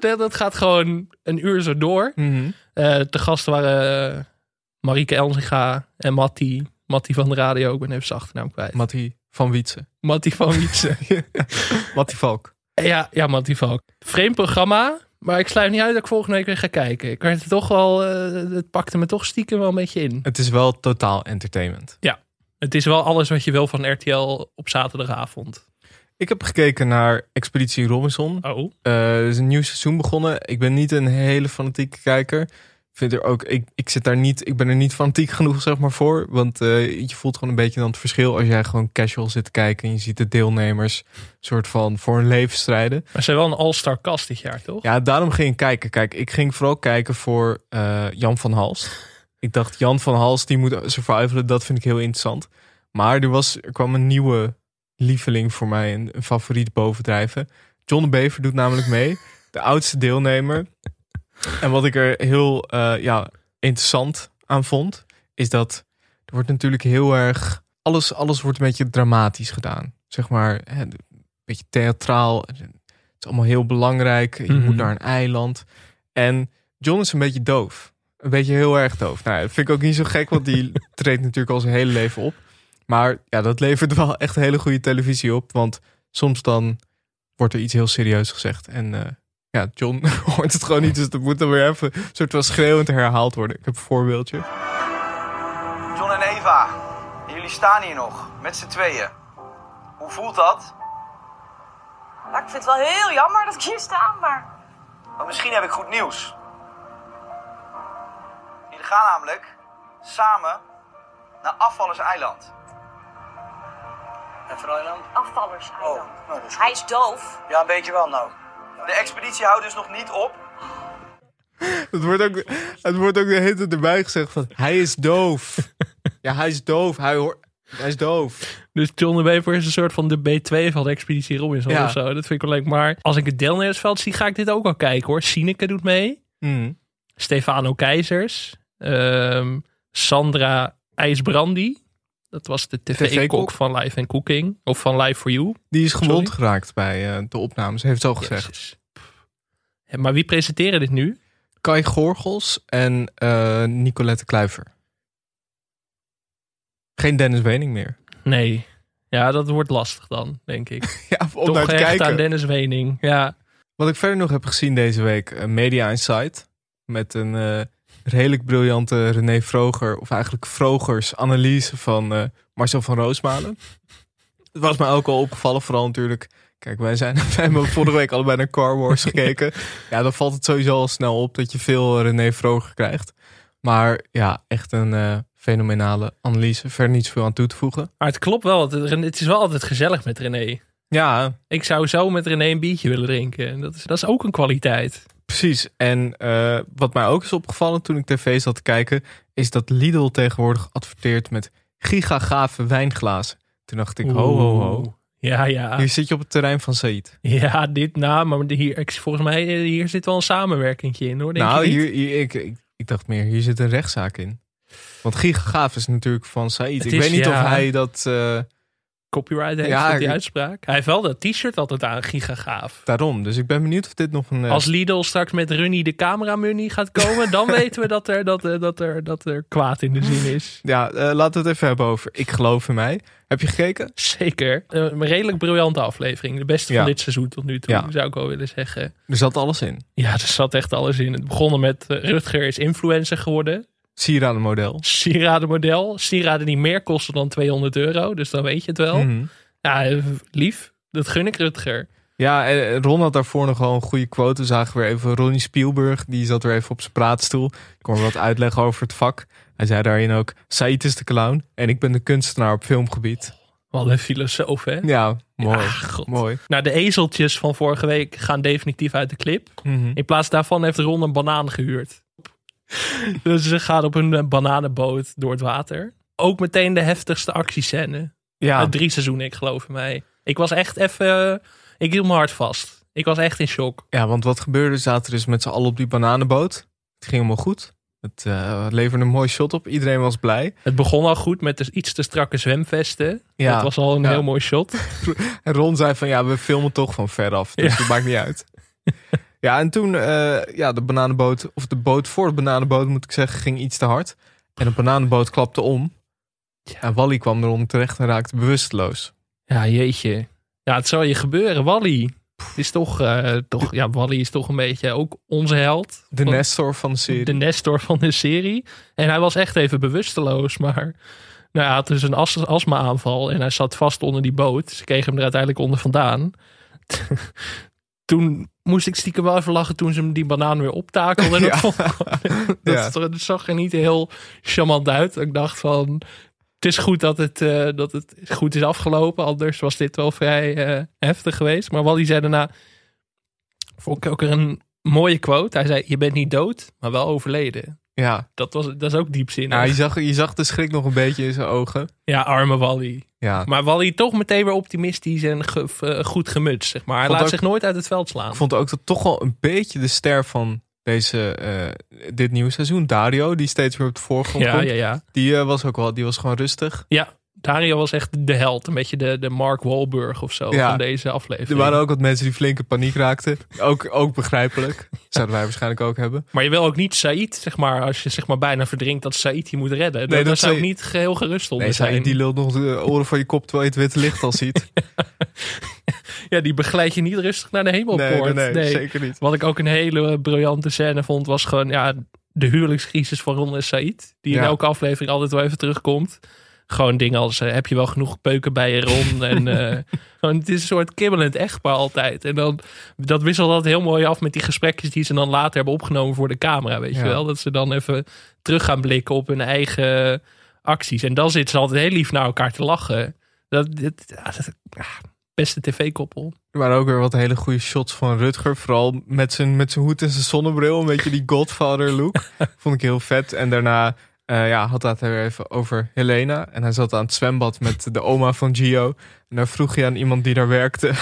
Speaker 2: dat, dat gaat gewoon een uur zo door. Eh, de gasten waren eh, Marieke Elzinga en Matti. Matti van de radio. Ik ben even zijn achternaam kwijt.
Speaker 1: Mattie van Wietsen.
Speaker 2: Matti van Wietse.
Speaker 1: Mattie Valk.
Speaker 2: ja, ja, Matti Valk. Vreemd programma. Maar ik sluit niet uit dat ik volgende week weer ga kijken. Ik werd het toch wel... eh, het pakte me toch stiekem wel een beetje in.
Speaker 1: Het is wel totaal entertainment.
Speaker 2: Het is wel alles wat je wil van RTL op zaterdagavond.
Speaker 1: Ik heb gekeken naar Expeditie Robinson.
Speaker 2: Oh.
Speaker 1: Eh, er is een nieuw seizoen begonnen. Ik ben niet een hele fanatieke kijker. Ik Vind er ook, ik, ik, zit daar niet, ik ben er niet fanatiek genoeg zeg maar, voor. Want eh, je voelt gewoon een beetje dan het verschil als jij gewoon casual zit te kijken. En je ziet de deelnemers soort van voor hun leven strijden.
Speaker 2: Maar ze zijn wel een all-star cast dit jaar, toch?
Speaker 1: Ja, daarom ging ik kijken. Kijk, ik ging vooral kijken voor eh, Jan van Hals. Ik dacht, Jan van Hals, die moet survivalen. Dat vind ik heel interessant. Maar er, was, er kwam een nieuwe lieveling voor mij, een, een favoriet bovendrijven. John de Bever doet namelijk mee, de oudste deelnemer. En wat ik er heel eh, ja, interessant aan vond, is dat er wordt natuurlijk heel erg... Alles, alles wordt een beetje dramatisch gedaan. Zeg maar, hè, een beetje theatraal. Het is allemaal heel belangrijk. Je
Speaker 2: Mhm.
Speaker 1: moet naar een eiland. En John is een beetje doof. Een beetje heel erg doof. Nou, ja, dat vind ik ook niet zo gek, want die treedt natuurlijk al zijn hele leven op. Maar ja, dat levert wel echt hele goede televisie op. Want soms dan wordt er iets heel serieus gezegd. En eh, ja, John hoort het gewoon niet. Dus dat moet dan weer even een soort van schreeuwend herhaald worden. Ik heb een voorbeeldje.
Speaker 3: John en Eva, jullie staan hier nog, met z'n tweeën. Hoe voelt dat?
Speaker 4: Nou, ik vind het wel heel jammer dat ik hier sta, maar
Speaker 3: Want misschien heb ik goed nieuws. Jullie gaan namelijk samen naar Afvallers Eiland. En Eiland?
Speaker 4: afvallers. hij
Speaker 3: Oh,
Speaker 4: dan.
Speaker 3: nou, dat is goed.
Speaker 4: Hij is doof.
Speaker 3: Ja, een beetje wel nou. De expeditie houdt dus nog niet op.
Speaker 1: Het wordt ook, het wordt ook de hele tijd erbij gezegd van... Hij is doof. Ja, hij is doof. Hij, hoort, hij is doof.
Speaker 2: Dus John de Wever is een soort van de B2 van de Expeditie Robinson
Speaker 1: Ja.
Speaker 2: of zo. Dat vind ik wel leuk. Maar als ik het deelnemersveld zie, ga ik dit ook wel kijken hoor. Sineke doet mee.
Speaker 1: Hmm.
Speaker 2: Stefano Keizers. Ehm, Sandra IJsbrandy. Dat was de
Speaker 1: TV-kok.
Speaker 2: tv-kok van Live and Cooking. Of van Live for You.
Speaker 1: Die is gewond
Speaker 2: Sorry?
Speaker 1: geraakt bij eh, de opnames. Heeft het al gezegd.
Speaker 2: Jezus. Pff. Ja, Maar wie presenteren dit nu?
Speaker 1: Kai Gorgels en eh, Nicolette Kluiver. Geen Dennis Wening meer.
Speaker 2: Nee. Ja, dat wordt lastig dan, denk ik.
Speaker 1: Ja, om
Speaker 2: Toch
Speaker 1: naar te
Speaker 2: echt
Speaker 1: kijken.
Speaker 2: aan Dennis Wening. Ja.
Speaker 1: Wat ik verder nog heb gezien deze week, eh, Media Insight. Met een eh, redelijk briljante René Vroger, of eigenlijk Vrogers analyse van eh, Marcel van Roosmalen. Het was mij ook al opgevallen, vooral natuurlijk. Kijk, wij, zijn, wij hebben vorige week allebei naar Car Wars gekeken. Ja, dan valt het sowieso al snel op dat je veel eh, René Vroger krijgt. Maar ja, echt een eh, fenomenale analyse. Verder niet zoveel aan toe te voegen.
Speaker 2: Maar het klopt wel. Het- Het is wel altijd gezellig met René.
Speaker 1: Ja,
Speaker 2: Ik zou zo met René een biertje willen drinken. En Dat is, dat is ook een kwaliteit.
Speaker 1: Precies. En eh, wat mij ook is opgevallen toen ik tv zat te kijken, is dat Lidl tegenwoordig adverteert met gigagave wijnglazen. Toen dacht ik, ho, ho, ho.
Speaker 2: Ja, ja.
Speaker 1: Hier zit je op het terrein van Said.
Speaker 2: Ja, dit na. Maar hier, ik- volgens mij eh, hier zit wel een samenwerking in hoor. Denk
Speaker 1: Nou,
Speaker 2: je niet?
Speaker 1: hier, hier- ik, ik, ik dacht meer, hier zit een rechtszaak in. Want gigagaaf is natuurlijk van Said.
Speaker 2: Het
Speaker 1: Ik
Speaker 2: is,
Speaker 1: weet niet
Speaker 2: ja.
Speaker 1: of hij dat eh,
Speaker 2: Copyright heeft
Speaker 1: Ja,
Speaker 2: ja, die
Speaker 1: ik-
Speaker 2: uitspraak. Hij heeft wel dat t-shirt altijd aan, giga gaaf.
Speaker 1: daarom. Dus ik ben benieuwd of dit nog een. eh,
Speaker 2: Als Lidl straks met Runny de cameramunnie gaat komen, dan weten we dat er, dat, er, dat, er, dat er kwaad in de zin is.
Speaker 1: Ja, eh, laten we het even hebben over. Ik geloof in mij. Heb je gekeken?
Speaker 2: Zeker. Een redelijk briljante aflevering. De beste
Speaker 1: Ja.
Speaker 2: van dit seizoen tot nu toe,
Speaker 1: Ja.
Speaker 2: zou ik wel willen zeggen.
Speaker 1: Er zat alles in.
Speaker 2: Ja, er zat echt alles in. Het begonnen met eh, Rutger is influencer geworden.
Speaker 1: Sieradenmodel.
Speaker 2: sieradenmodel. Sieraden die meer kosten dan 200 euro. Dus dan weet je het wel.
Speaker 1: Mhm.
Speaker 2: Ja, eh, lief. Dat gun ik Rutger.
Speaker 1: Ja, en eh, Ron had daarvoor nog wel een goede quote. We zagen weer even Ronnie Spielberg. Die zat weer even op zijn praatstoel. Ik kon wat uitleggen over het vak. Hij zei daarin ook, Said is de clown en ik ben de kunstenaar op filmgebied.
Speaker 2: Wat een filosoof, hè?
Speaker 1: Ja, mooi.
Speaker 2: Ah, god.
Speaker 1: Mooi.
Speaker 2: Nou, de ezeltjes van vorige week gaan definitief uit de clip.
Speaker 1: Mhm.
Speaker 2: In plaats daarvan heeft Ron een banaan gehuurd. dus ze gaan op een eh, bananenboot door het water. Ook meteen de heftigste actiescène.
Speaker 1: Ja,
Speaker 2: Uit drie seizoenen, ik geloof mij. Ik was echt even... eh, ik hield mijn hart vast. Ik was echt in shock.
Speaker 1: ja, want wat gebeurde, ze zaten dus met z'n allen op die bananenboot. Het ging helemaal goed. Het eh, leverde een mooi shot op. Iedereen was blij.
Speaker 2: Het begon al goed met de iets te strakke zwemvesten.
Speaker 1: Ja.
Speaker 2: Dat was al een
Speaker 1: Ja.
Speaker 2: heel mooi shot.
Speaker 1: En Ron zei van ja, we filmen toch van veraf. Dus
Speaker 2: Ja.
Speaker 1: dat maakt niet uit. Ja, en toen eh, ja, de bananenboot, of de boot voor de bananenboot moet ik zeggen, ging iets te hard. En de bananenboot klapte om. En Wally kwam eronder terecht en raakte bewusteloos.
Speaker 2: Ja, jeetje. Ja, het zal je gebeuren. Wally Het is toch, eh, toch, ja, Wally is toch een beetje ook onze held.
Speaker 1: De
Speaker 2: Van-
Speaker 1: Nestor van de serie.
Speaker 2: De Nestor van de serie. En hij was echt even bewusteloos, maar nou, hij had dus een as, astma-aanval en hij zat vast onder die boot. Ze kregen hem er uiteindelijk onder vandaan. toen moest ik stiekem wel even lachen toen ze hem die banaan weer optakelden.
Speaker 1: Ja.
Speaker 2: Dat, vond ik wel- dat,
Speaker 1: Ja.
Speaker 2: dat zag er niet heel charmant uit. Ik dacht van, het is goed dat het, eh, dat het goed is afgelopen. Anders was dit wel vrij eh, heftig geweest. Maar Wally zei daarna, vond ik ook een mooie quote. Hij zei, je bent niet dood, maar wel overleden.
Speaker 1: Ja,
Speaker 2: Dat, was, dat is ook diepzinnig.
Speaker 1: nou, je, zag, je zag de schrik nog een beetje in zijn ogen.
Speaker 2: Ja, arme Wally.
Speaker 1: Ja,
Speaker 2: Maar Wally toch meteen weer optimistisch en ge- v- eh, goed gemutst, zeg maar. Hij
Speaker 1: Vond
Speaker 2: laat
Speaker 1: ook-
Speaker 2: zich nooit uit het veld slaan.
Speaker 1: ik vond ook dat toch wel een beetje de ster van deze, eh, dit nieuwe seizoen. Dario, die steeds weer op de voorgrond
Speaker 2: Ja,
Speaker 1: komt.
Speaker 2: ja, ja.
Speaker 1: Die, eh, was ook wel, die was gewoon rustig.
Speaker 2: Ja, Dario was echt de held. Een beetje de, de Mark Wahlberg of zo
Speaker 1: Ja.
Speaker 2: van deze
Speaker 1: Er
Speaker 2: aflevering.
Speaker 1: waren ook wat mensen die flink in paniek raakten. Ook, ook begrijpelijk. Zouden wij waarschijnlijk ook hebben.
Speaker 2: Maar je wil ook niet Said, zeg maar, als je zeg maar bijna verdrinkt dat Said je moet redden. Nee,
Speaker 1: dat
Speaker 2: dat, daar zou ik
Speaker 1: Saïd-
Speaker 2: niet geheel gerust onder
Speaker 1: Nee, zij,
Speaker 2: zijn.
Speaker 1: die lult nog de oren van je kop terwijl je het witte licht al ziet.
Speaker 2: Ja, die begeleid je niet rustig naar de
Speaker 1: Nee, nee,
Speaker 2: hemelpoort.
Speaker 1: nee, zeker niet.
Speaker 2: Wat ik ook een hele eh, briljante scène vond, was gewoon ja, de huwelijkscrisis van Ron en Said. Die in
Speaker 1: Ja.
Speaker 2: elke aflevering altijd wel even terugkomt. Gewoon dingen als, eh, heb je wel genoeg peuken bij je Ron? en, eh, gewoon, het is een soort kibbelend echtpaar altijd. En dan, dat wisselt dat heel mooi af met die gesprekjes die ze dan later hebben opgenomen voor de camera, weet
Speaker 1: Ja.
Speaker 2: je wel. Dat ze dan even terug gaan blikken op hun eigen acties. En dan zitten ze altijd heel lief naar elkaar te lachen. Dat, dit, ja, dat- ah, beste tv-koppel.
Speaker 1: Er waren ook weer wat hele goede shots van Rutger. Vooral met zijn, met zijn hoed en zijn zonnebril. Een beetje die Godfather look. Vond ik heel vet. En daarna eh, ja, had hij het weer even over Helena. En hij zat aan het zwembad met de oma van Gio. En daar vroeg hij aan iemand die daar werkte...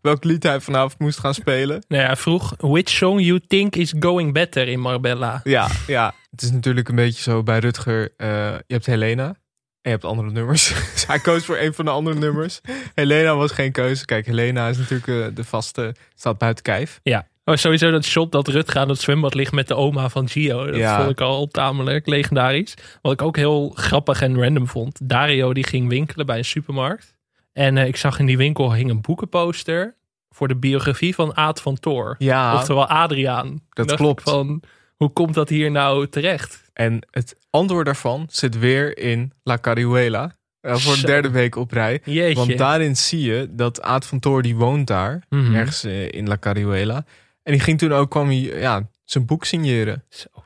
Speaker 1: welk lied hij vanavond moest gaan spelen.
Speaker 2: Nou ja, hij vroeg, which song you think is going better in Marbella?
Speaker 1: Ja, ja. Het is natuurlijk een beetje zo bij Rutger. eh, je hebt Helena en je hebt andere nummers. dus hij koos voor een van de andere nummers. Helena was geen keuze. Kijk, Helena is natuurlijk eh, de vaste, staat buiten kijf.
Speaker 2: Ja. Oh, sowieso dat shot dat Rutger aan het zwembad ligt met de oma van Gio. Dat
Speaker 1: Ja.
Speaker 2: vond ik al tamelijk legendarisch. Wat ik ook heel grappig en random vond. Dario die ging winkelen bij een supermarkt. En eh, ik zag in die winkel hing een boekenposter voor de biografie van Aad van Toor.
Speaker 1: Ja,
Speaker 2: Oftewel Adriaan. Toen dacht ik
Speaker 1: klopt.
Speaker 2: Van, hoe komt dat hier nou terecht?
Speaker 1: en het antwoord daarvan zit weer in La Carriuela. Eh, voor de
Speaker 2: Zo.
Speaker 1: derde week op rij.
Speaker 2: Jeetje.
Speaker 1: Want daarin zie je dat Aad van Toor, die woont daar.
Speaker 2: Mhm.
Speaker 1: Ergens eh, in La Carriuela. En die ging toen ook, kwam hij ja, zijn boek signeren.
Speaker 2: Zo.
Speaker 1: een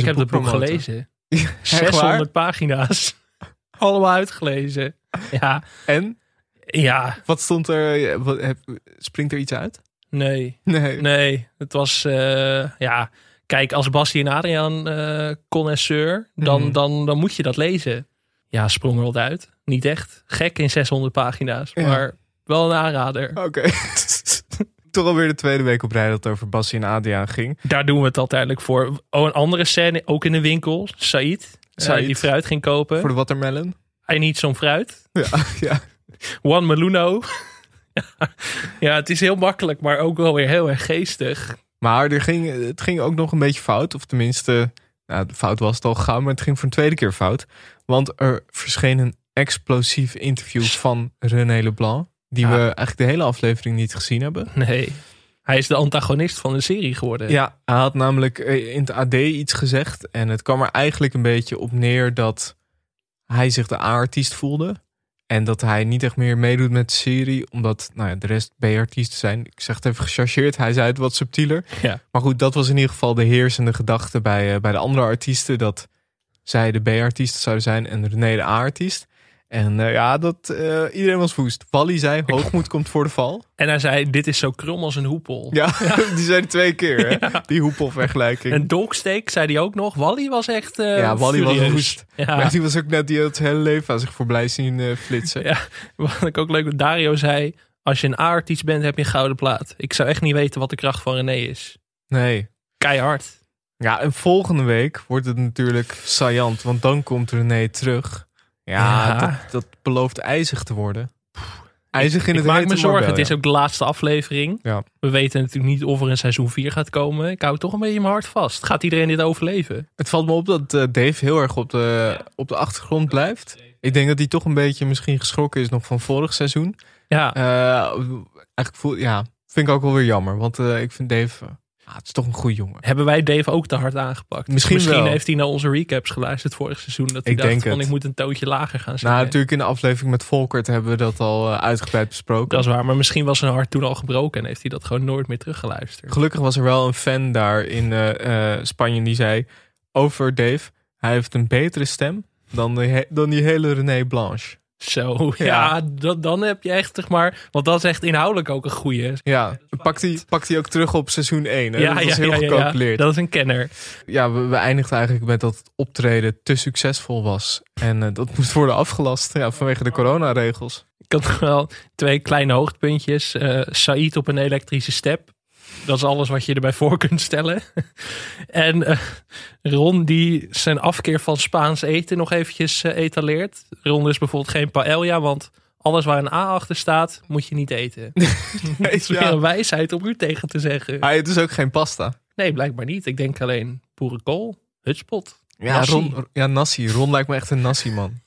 Speaker 2: Ik heb dat boek
Speaker 1: boekpromotor.
Speaker 2: gelezen.
Speaker 1: waar?
Speaker 2: 600 pagina's. Allemaal uitgelezen. Ja,
Speaker 1: En,
Speaker 2: ja,
Speaker 1: wat stond er, eh, wat, heb- springt er iets uit?
Speaker 2: nee.
Speaker 1: Nee.
Speaker 2: Nee, het was. eh, ja, kijk, als Bassie en Adriaan eh connoisseur, dan,
Speaker 1: Mhm.
Speaker 2: dan, dan moet je dat lezen. Ja, sprong er wat uit. Niet echt. Gek in 600 pagina's,
Speaker 1: Ja.
Speaker 2: maar wel een aanrader.
Speaker 1: Oké. Toch alweer de tweede week op rij dat het over Bassie en Adriaan ging.
Speaker 2: Daar doen we het uiteindelijk voor. Oh, een andere scène, ook in de winkel. Said, eh,
Speaker 1: Said.
Speaker 2: die fruit ging kopen.
Speaker 1: Voor de watermelon.
Speaker 2: Hij niet zo'n fruit.
Speaker 1: Ja, ja.
Speaker 2: Juan Meluno. ja, het is heel makkelijk, maar ook wel weer heel erg geestig.
Speaker 1: Maar er ging, het ging ook nog een beetje fout. Of tenminste, nou, de fout was het al gegaan, maar het ging voor een tweede keer fout. Want er verscheen een explosief interview van René Leblanc. Die
Speaker 2: Ja.
Speaker 1: we eigenlijk de hele aflevering niet gezien hebben.
Speaker 2: Nee, hij is de antagonist van de serie geworden.
Speaker 1: Ja, hij had namelijk eh, in het AD iets gezegd. En het kwam er eigenlijk een beetje op neer dat hij zich de A-artiest voelde. En dat hij niet echt meer meedoet met de serie, omdat nou ja, de rest B-artiesten zijn. Ik zeg het even gechargeerd, hij zei het wat subtieler.
Speaker 2: Ja.
Speaker 1: Maar goed, dat was in ieder geval de heersende gedachte bij, eh, bij de andere artiesten. Dat zij de B-artiest zou zijn en René de A-artiest. En eh, ja, dat, eh, iedereen was woest. Wally zei, hoogmoed komt voor de val.
Speaker 2: En hij zei, dit is zo krom als een hoepel.
Speaker 1: Ja, die zei het twee keer, hè? die hoepelvergelijking.
Speaker 2: En Dogsteek zei hij ook nog. Wally was echt eh
Speaker 1: ja, Wally was
Speaker 2: furieus.
Speaker 1: woest.
Speaker 2: Ja.
Speaker 1: Maar die was ook net die had het hele leven aan zich voorbij zien eh, flitsen.
Speaker 2: Ja, wat ik ook leuk dat Dario zei. Als je een A-artiest bent, heb je een gouden plaat. Ik zou echt niet weten wat de kracht van René is.
Speaker 1: Nee.
Speaker 2: Keihard.
Speaker 1: Ja, en volgende week wordt het natuurlijk saillant, want dan komt René terug. Ja,
Speaker 2: Ja.
Speaker 1: Dat, dat belooft ijzig te worden. IJzig in
Speaker 2: Ik
Speaker 1: het
Speaker 2: maak
Speaker 1: hete
Speaker 2: me zorgen.
Speaker 1: Marbella.
Speaker 2: Het is ook de laatste aflevering.
Speaker 1: Ja.
Speaker 2: We weten natuurlijk niet of er een seizoen 4 gaat komen. Ik hou toch een beetje mijn hart vast. Gaat iedereen dit overleven?
Speaker 1: Het valt me op dat eh, Dave heel erg op de, op de achtergrond blijft. Ik denk dat hij toch een beetje misschien geschrokken is nog van vorig seizoen.
Speaker 2: Ja,
Speaker 1: Eh, eigenlijk voel, ja, vind ik ook wel weer jammer. Want eh, ik vind Dave, eh, ah, het is toch een goede jongen.
Speaker 2: hebben wij Dave ook te hard aangepakt?
Speaker 1: Misschien wel.
Speaker 2: heeft hij naar onze recaps geluisterd vorig seizoen. Dat hij
Speaker 1: Ik
Speaker 2: dacht
Speaker 1: denk
Speaker 2: van
Speaker 1: het.
Speaker 2: ik moet een tootje lager gaan zingen.
Speaker 1: Nou, natuurlijk in de aflevering met Volkert hebben we dat al eh, uitgebreid besproken.
Speaker 2: Dat is waar, maar misschien was zijn hart toen al gebroken en heeft hij dat gewoon nooit meer teruggeluisterd.
Speaker 1: Gelukkig was er wel een fan daar in eh, eh, Spanje die zei over Dave, hij heeft een betere stem dan die, he- dan die hele René Blanche.
Speaker 2: Zo, ja,
Speaker 1: Ja.
Speaker 2: dat, dan heb je echt, zeg maar, want dat is echt inhoudelijk ook een goeie.
Speaker 1: Ja, pakt hij, pakt hij ook terug op seizoen 1. Hè? dat was heel
Speaker 2: ja.
Speaker 1: gecalculeerd. Ja,
Speaker 2: dat is een kenner.
Speaker 1: we, we eindigden eigenlijk met dat het optreden te succesvol was. En eh, dat moest worden afgelast ja, vanwege de coronaregels.
Speaker 2: Ik had nog wel twee kleine hoogtepuntjes. Eh Said op een elektrische step. Dat is alles wat je erbij voor kunt stellen. en eh, Ron die zijn afkeer van Spaans eten nog eventjes eh, etaleert. Ron is bijvoorbeeld geen paella, want alles waar een A achter staat, moet je niet eten. Het is weer
Speaker 1: Ja.
Speaker 2: een wijsheid om u tegen te zeggen.
Speaker 1: Maar het is dus ook geen pasta.
Speaker 2: Nee, blijkbaar niet. Ik denk alleen boerenkool, hutspot.
Speaker 1: Ja,
Speaker 2: Nassi.
Speaker 1: Ron, ja, Nassi. Ron lijkt me echt een Nassi man.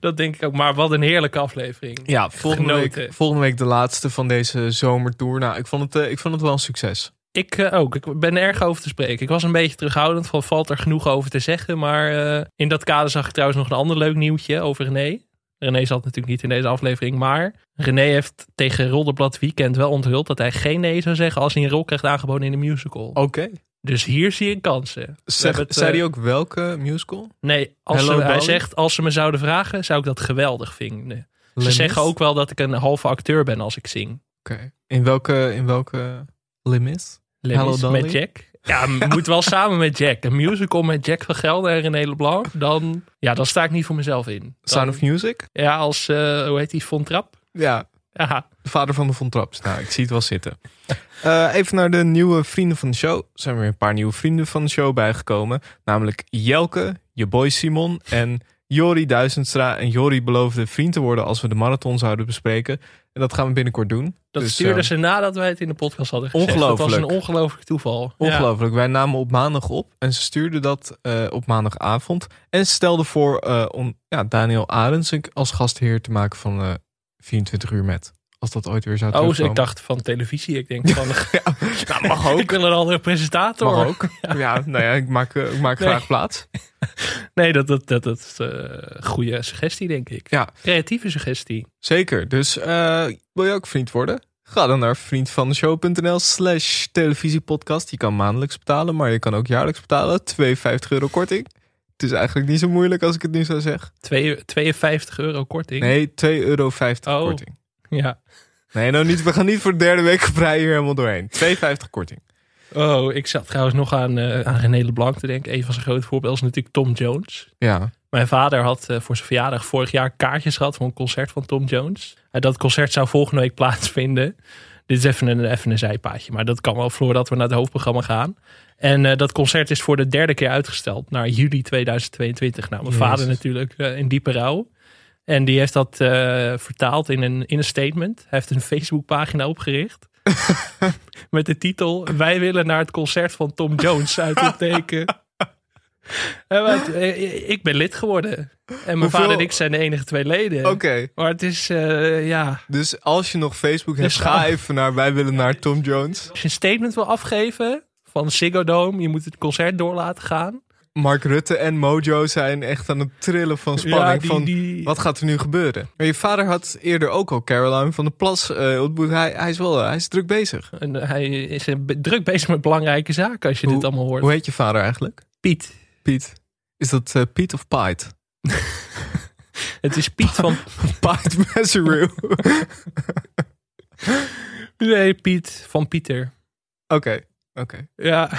Speaker 2: Dat denk ik ook. Maar wat een heerlijke aflevering.
Speaker 1: Ja, volgende
Speaker 2: Genoten.
Speaker 1: week, volgende week de laatste van deze zomertour. Nou, ik vond het, eh, ik vond het wel een succes.
Speaker 2: Ik eh, ook. Ik ben erg over te spreken. Ik was een beetje terughoudend van valt er genoeg over te zeggen. Maar eh, in dat kader zag ik trouwens nog een ander leuk nieuwtje over René. René zat natuurlijk niet in deze aflevering. Maar René heeft tegen Rodderblad Weekend wel onthuld dat hij geen nee zou zeggen als hij een rol krijgt aangeboden in een musical.
Speaker 1: Oké.
Speaker 2: Dus hier zie ik kansen. We
Speaker 1: Zeg,
Speaker 2: hebben het,
Speaker 1: zei
Speaker 2: eh,
Speaker 1: hij ook welke musical?
Speaker 2: Nee, als
Speaker 1: Hello,
Speaker 2: ze, hij
Speaker 1: Dolly?
Speaker 2: zegt als ze me zouden vragen, zou ik dat geweldig vinden. Ze
Speaker 1: Les
Speaker 2: zeggen
Speaker 1: Mis?
Speaker 2: ook wel dat ik een halve acteur ben als ik zing.
Speaker 1: Oké. In welke, in welke limit? Hello,
Speaker 2: Lemmings
Speaker 1: Dolly.
Speaker 2: met Jack. Ja, m- moet wel samen met Jack. Een musical met Jack van Gelder en René LeBlanc. Dan, ja, dan sta ik niet voor mezelf in. Dan-
Speaker 1: Sound of Music?
Speaker 2: Ja, als, eh, hoe heet die, Von Trapp?
Speaker 1: Ja,
Speaker 2: Ja,
Speaker 1: De vader van de Von Traps. Nou, ik zie het wel zitten. Eh, even naar de nieuwe vrienden van de show. Er zijn weer een paar nieuwe vrienden van de show bijgekomen. Namelijk Jelke, je boy Simon en Jori Duizendstra. En Jori beloofde vriend te worden als we de marathon zouden bespreken. En dat gaan we binnenkort doen.
Speaker 2: dat
Speaker 1: Dus,
Speaker 2: stuurden
Speaker 1: eh,
Speaker 2: ze nadat wij het in de podcast hadden gezegd. Dat was
Speaker 1: Ongelooflijk.
Speaker 2: een ongelooflijk toeval.
Speaker 1: Ongelooflijk. Wij namen op maandag op en ze stuurde dat eh, op maandagavond. En ze stelde voor eh, om ja, Daniel Arends als gastheer te maken van eh, 24 uur met. Als dat ooit weer zou
Speaker 2: Ja. Oh,
Speaker 1: terugkomen.
Speaker 2: ik dacht van televisie. Ik denk van,
Speaker 1: dus Nou, mag ook.
Speaker 2: ik wil een andere presentator.
Speaker 1: Mag ook. Ja. nou ja, ik maak, eh, ik maak
Speaker 2: Nee.
Speaker 1: graag plaats.
Speaker 2: Nee, dat, dat, dat, dat is eh, een goede suggestie, denk ik.
Speaker 1: Ja.
Speaker 2: Creatieve suggestie.
Speaker 1: Zeker. Dus eh, wil je ook vriend worden? Ga dan naar vriendvandeshow.nl slash televisiepodcast. Je kan maandelijks betalen, maar je kan ook jaarlijks betalen. 2,50 euro korting. Het is eigenlijk niet zo moeilijk als ik het nu zou zeggen.
Speaker 2: Twee- 52 euro korting.
Speaker 1: Nee, 2,50 euro
Speaker 2: Oh.
Speaker 1: korting.
Speaker 2: Ja.
Speaker 1: Nee, nou niet. We gaan niet voor de derde week op rij hier helemaal doorheen. 2,50 korting.
Speaker 2: Oh, ik zat trouwens nog aan, eh, aan René LeBlanc te denken. Een van zijn grote voorbeelden is natuurlijk Tom Jones.
Speaker 1: Ja.
Speaker 2: Mijn vader had eh, voor zijn verjaardag vorig jaar kaartjes gehad voor een concert van Tom Jones. En dat concert zou volgende week plaatsvinden. Dit is even een, even een zijpaadje, maar dat kan wel vloer dat we naar het hoofdprogramma gaan. En eh, dat concert is voor de derde keer uitgesteld naar juli 2022. Nou, mijn
Speaker 1: Jezus.
Speaker 2: vader natuurlijk eh, in diepe rouw. En die heeft dat eh, vertaald in een, in een statement. Hij heeft een Facebookpagina opgericht. met de titel Wij willen naar het concert van Tom Jones uit het teken. En wat, eh, ik ben lid geworden. En mijn
Speaker 1: Hoeveel-
Speaker 2: vader en ik zijn de enige twee leden.
Speaker 1: Oké,
Speaker 2: Maar het is, eh, ja.
Speaker 1: dus als je nog Facebook hebt,
Speaker 2: Dus
Speaker 1: ga
Speaker 2: ga-
Speaker 1: even naar Wij willen naar Tom Jones.
Speaker 2: Als je een statement wil afgeven van Ziggo Dome, je moet het concert door laten gaan.
Speaker 1: Mark Rutte en Mojo zijn echt aan het trillen van spanning.
Speaker 2: Ja, die-
Speaker 1: van,
Speaker 2: die-
Speaker 1: Wat gaat er nu gebeuren? Maar je vader had eerder ook al Caroline van de Plas eh, ontmoet. Hij, hij is wel hij is druk bezig.
Speaker 2: En hij is eh, be- druk bezig met belangrijke zaken als je
Speaker 1: Hoe-
Speaker 2: dit allemaal hoort.
Speaker 1: Hoe heet je vader eigenlijk?
Speaker 2: Piet.
Speaker 1: Piet. Is dat eh, Piet of Piet?
Speaker 2: Het is Piet van...
Speaker 1: Piet Messerew. Oké.
Speaker 2: Nee, Piet van Pieter.
Speaker 1: Oké.
Speaker 2: Ja,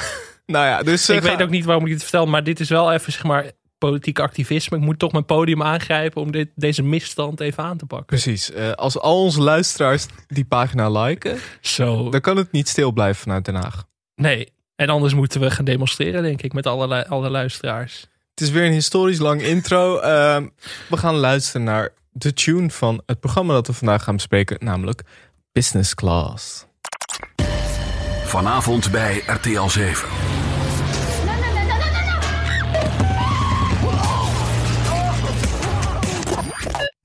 Speaker 1: Nou ja, dus... eh,
Speaker 2: ik
Speaker 1: ga-
Speaker 2: weet ook niet waarom ik dit vertel, maar dit is wel even, zeg maar, politiek activisme. Ik moet toch mijn podium aangrijpen om dit, deze misstand even aan te pakken.
Speaker 1: Precies. eh, als al onze luisteraars die pagina liken,
Speaker 2: Zo.
Speaker 1: dan kan het niet stil blijven vanuit Den Haag.
Speaker 2: Nee. En anders moeten we gaan demonstreren, denk ik, met alle, alle luisteraars.
Speaker 1: Het is weer een historisch lang intro. Ehm, we gaan luisteren naar de tune van het programma dat we vandaag gaan bespreken, namelijk Business Class.
Speaker 5: Vanavond bij RTL 7.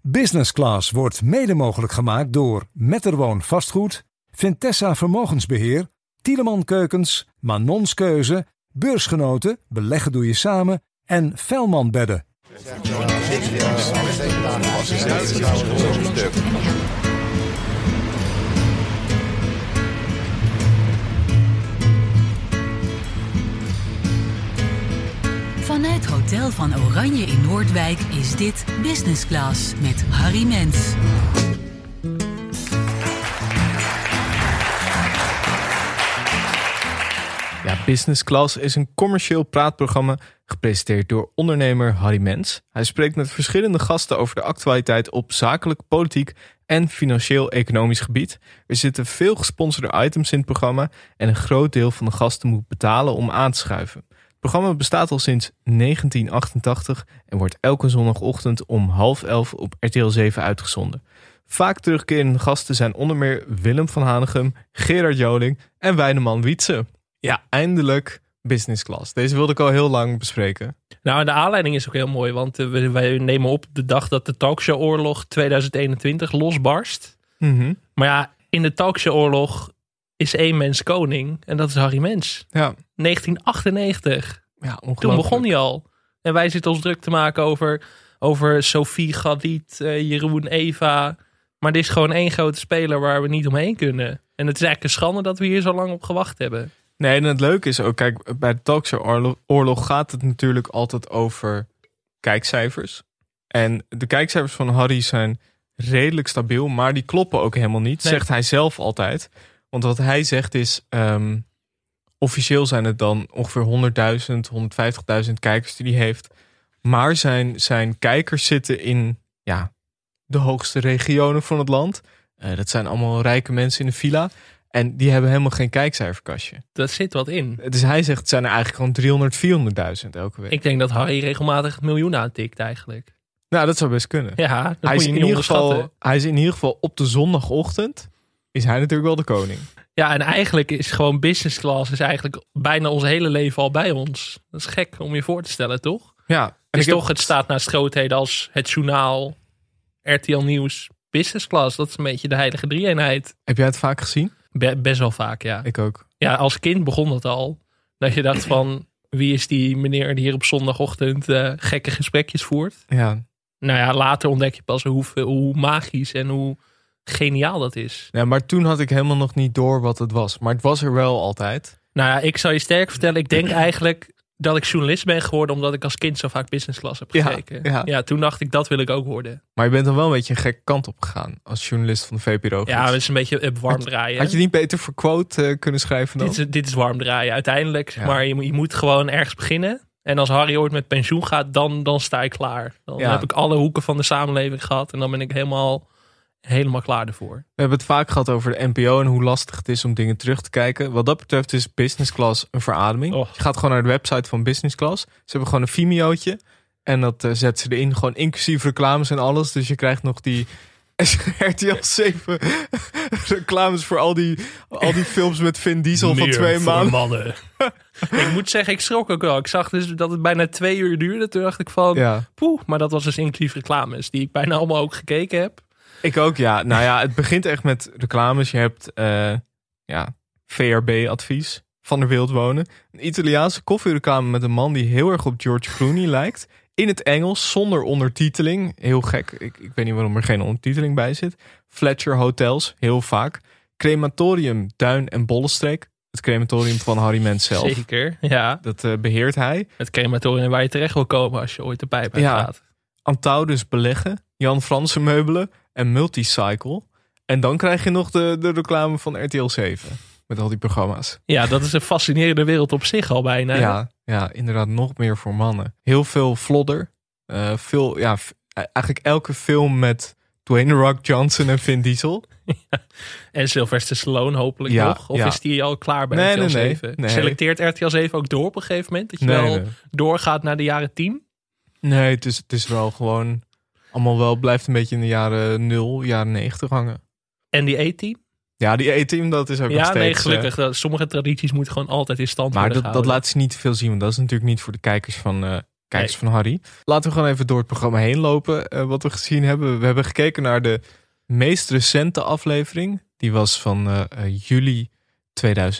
Speaker 6: Business Class wordt mede mogelijk gemaakt door Metterwoon Vastgoed, Vintessa Vermogensbeheer, Tieleman Keukens, Manons Keuze, Beursgenoten, Beleggen Doe Je Samen en Velman Bedden.
Speaker 7: Vanuit Hotel van Oranje in Noordwijk is dit Business Class met Harry Mens.
Speaker 1: Ja, Business Class is een commercieel praatprogramma gepresenteerd door ondernemer Harry Mens. Hij spreekt met verschillende gasten over de actualiteit op zakelijk, politiek en financieel-economisch gebied. Er zitten veel gesponsorde items in het programma en een groot deel van de gasten moet betalen om aan te schuiven. Het programma bestaat al sinds 1988 en wordt elke zondagochtend om half elf op RTL 7 uitgezonden. Vaak terugkerende gasten zijn onder meer Willem van Hanegem, Gerard Joling en Wijneman Wietse. Ja, eindelijk business class. Deze wilde ik al heel lang bespreken.
Speaker 2: Nou, en de aanleiding is ook heel mooi, want eh, we, wij nemen op de dag dat de Talkshow-oorlog 2021 losbarst. Maar ja, in de Talkshow-oorlog is één mens koning en dat is Harry Mens.
Speaker 1: Ja,
Speaker 2: 1998,
Speaker 1: ja
Speaker 2: toen begon hij al. En wij zitten ons druk te maken over, over Sophie, Gadid, eh, Jeroen, Eva. Maar dit is gewoon één grote speler waar we niet omheen kunnen. En het is eigenlijk een schande dat we hier zo lang op gewacht hebben.
Speaker 1: Nee, en het leuke is ook, kijk, bij de Talkshow oorlog, oorlog gaat het natuurlijk altijd over kijkcijfers. En de kijkcijfers van Harry zijn redelijk stabiel, maar die kloppen ook helemaal niet,
Speaker 2: Nee.
Speaker 1: zegt hij zelf altijd. Want wat hij zegt is, ehm, officieel zijn het dan ongeveer 100.000, 150.000 kijkers die hij heeft. Maar zijn, zijn kijkers zitten in ja, de hoogste regionen van het land. Eh, dat zijn allemaal rijke mensen in een villa. En die hebben helemaal geen kijkcijferkastje.
Speaker 2: Daar zit wat in.
Speaker 1: Dus hij zegt, het zijn er eigenlijk gewoon 300, 400.000 elke week.
Speaker 2: Ik denk dat Harry regelmatig het miljoen aantikt eigenlijk.
Speaker 1: Nou, dat zou best kunnen.
Speaker 2: Ja, dat
Speaker 1: hij,
Speaker 2: moet
Speaker 1: is
Speaker 2: je
Speaker 1: in
Speaker 2: niet
Speaker 1: ieder geval,
Speaker 2: onderschatten.
Speaker 1: hij is in ieder geval op de zondagochtend, is hij natuurlijk wel de koning.
Speaker 2: Ja, en eigenlijk is gewoon business class is eigenlijk bijna ons hele leven al bij ons. Dat is gek om je voor te stellen, toch?
Speaker 1: Ja, en
Speaker 2: Het,
Speaker 1: ik
Speaker 2: is
Speaker 1: heb-
Speaker 2: Dus toch, het staat naast grootheden als het journaal, RTL Nieuws, business class. Dat is een beetje de heilige drie-eenheid.
Speaker 1: Heb jij het vaak gezien?
Speaker 2: Be- best wel vaak, ja.
Speaker 1: Ik ook.
Speaker 2: Ja, als kind begon dat al. Dat je dacht van, wie is die meneer die hier op zondagochtend eh, gekke gesprekjes voert?
Speaker 1: Ja.
Speaker 2: Nou ja, later ontdek je pas hoeveel, hoe magisch en hoe geniaal dat is.
Speaker 1: ja, maar toen had ik helemaal nog niet door wat het was. Maar het was er wel altijd.
Speaker 2: Nou ja, ik zal je sterk vertellen. Ik denk eigenlijk dat ik journalist ben geworden omdat ik als kind zo vaak business class heb
Speaker 1: Ja,
Speaker 2: gekeken.
Speaker 1: ja.
Speaker 2: toen dacht ik dat wil ik ook worden.
Speaker 1: Maar je bent dan wel een beetje een gekke kant op gegaan als journalist van de VPRO.
Speaker 2: Ja, dat is een beetje eh, warm draaien.
Speaker 1: Had je niet beter voor quote eh, kunnen schrijven dan?
Speaker 2: dit, is, dit is warm draaien uiteindelijk. zeg
Speaker 1: Ja.
Speaker 2: Maar je, moet- je moet gewoon ergens beginnen. En als Harry ooit met pensioen gaat, dan, dan sta ik klaar. Dan
Speaker 1: Ja.
Speaker 2: heb ik alle hoeken van de samenleving gehad. En dan ben ik helemaal, helemaal klaar ervoor.
Speaker 1: We hebben het vaak gehad over de NPO en hoe lastig het is om dingen terug te kijken. Wat dat betreft is Business Class een verademing.
Speaker 2: Och.
Speaker 1: Je gaat gewoon naar de website van Business Class. Ze hebben gewoon een Vimeootje. En dat eh, zet ze erin, gewoon inclusief reclames en alles. Dus je krijgt nog die RTL 7 reclames voor al die, al die films met Vin Diesel van twee maanden.
Speaker 2: mannen. ik moet zeggen, ik schrok ook wel. Ik zag dus dat het bijna twee uur duurde. Toen dacht ik van,
Speaker 1: Ja,
Speaker 2: Poeh, maar dat was dus inclusief reclames, die ik bijna allemaal ook gekeken heb.
Speaker 1: ik ook ja. Nou ja, het begint echt met reclames. Je hebt eh, ja, VRB-advies. Van der Wild wonen. Een Italiaanse koffiereclame met een man die heel erg op George Clooney lijkt. In het Engels, zonder ondertiteling. Heel gek. Ik, ik weet niet waarom er geen ondertiteling bij zit. Fletcher Hotels, heel vaak. Crematorium, Duin en Bollenstreek. Het crematorium van Harry Mens zelf.
Speaker 2: Zeker, ja.
Speaker 1: Dat eh, beheert hij.
Speaker 2: Het crematorium waar je terecht wil komen als je ooit de pijp
Speaker 1: Ja.
Speaker 2: uitgaat.
Speaker 1: Antaudus Beleggen, Jan Franse Meubelen en Multicycle. En dan krijg je nog de, de reclame van RTL 7. Met al die programma's.
Speaker 2: Ja, dat is een fascinerende wereld op zich al bijna.
Speaker 1: Ja, ja, inderdaad nog meer voor mannen. Heel veel vlodder. Eh, veel, ja, f- eigenlijk elke film met Dwayne The Rock Johnson en Vin Diesel.
Speaker 2: En Sylvester Stallone hopelijk
Speaker 1: Ja,
Speaker 2: nog. Of
Speaker 1: ja.
Speaker 2: is die al klaar bij
Speaker 1: Nee,
Speaker 2: RTL
Speaker 1: nee, nee,
Speaker 2: 7?
Speaker 1: nee.
Speaker 2: Selecteert RTL 7 ook door op een gegeven moment? Dat je
Speaker 1: Nee,
Speaker 2: wel
Speaker 1: nee.
Speaker 2: doorgaat naar de jaren 10?
Speaker 1: Nee, het is, het is wel gewoon... Allemaal wel blijft een beetje in de jaren 0, jaren 90 hangen.
Speaker 2: En die 18?
Speaker 1: Ja, die E-team, dat is ook nog
Speaker 2: Ja,
Speaker 1: steeds...
Speaker 2: nee,
Speaker 1: eh,
Speaker 2: gelukkig. Dat- Sommige tradities moeten gewoon altijd in stand
Speaker 1: Maar
Speaker 2: worden
Speaker 1: dat, dat
Speaker 2: gehouden.
Speaker 1: laat ze niet te veel zien, want dat is natuurlijk niet voor de kijkers van, eh, kijkers van Harry. Laten we gewoon even door het programma heen lopen, eh, wat we gezien hebben. We hebben gekeken naar de meest recente aflevering. Die was van eh, eh, juli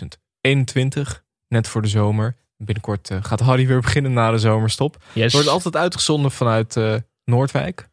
Speaker 1: 2021, net voor de zomer. Binnenkort eh, gaat Harry weer beginnen na de zomerstop.
Speaker 2: Yes.
Speaker 1: Het wordt altijd uitgezonden vanuit eh, Noordwijk,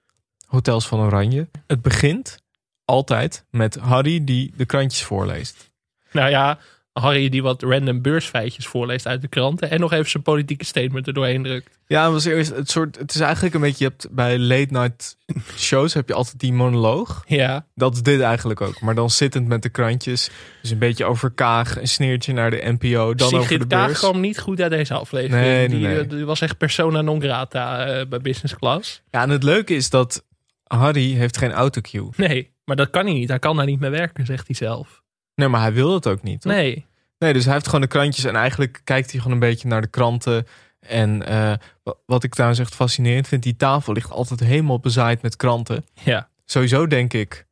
Speaker 1: Hotels van Oranje. Het begint altijd met Harry die de krantjes voorleest.
Speaker 2: Nou ja, Harry die wat random beursfeitjes voorleest uit de kranten. En nog even zijn politieke statement er doorheen drukt.
Speaker 1: Ja, het was eerst het soort. Het is eigenlijk een beetje. Je hebt bij late night shows heb je altijd die monoloog.
Speaker 2: Ja,
Speaker 1: Dat is dit eigenlijk ook. Maar dan zittend met de krantjes. Dus een beetje over Kaag, een sneertje naar de NPO, dan over de
Speaker 2: Sigrid Kaag
Speaker 1: beurs.
Speaker 2: kwam niet goed uit deze aflevering.
Speaker 1: Nee, nee,
Speaker 2: die,
Speaker 1: nee.
Speaker 2: eh, die was echt persona non grata eh, bij Business Class.
Speaker 1: Ja, en het leuke is dat Harry heeft geen autocue.
Speaker 2: Nee, maar dat kan hij niet. Hij kan daar niet mee werken, zegt hij zelf.
Speaker 1: Nee, maar hij wil dat ook niet. toch?
Speaker 2: Nee,
Speaker 1: Nee, dus hij heeft gewoon de krantjes en eigenlijk kijkt hij gewoon een beetje naar de kranten. En eh, wa- wat ik trouwens echt fascinerend vind, die tafel ligt altijd helemaal bezaaid met kranten.
Speaker 2: ja.
Speaker 1: sowieso denk ik,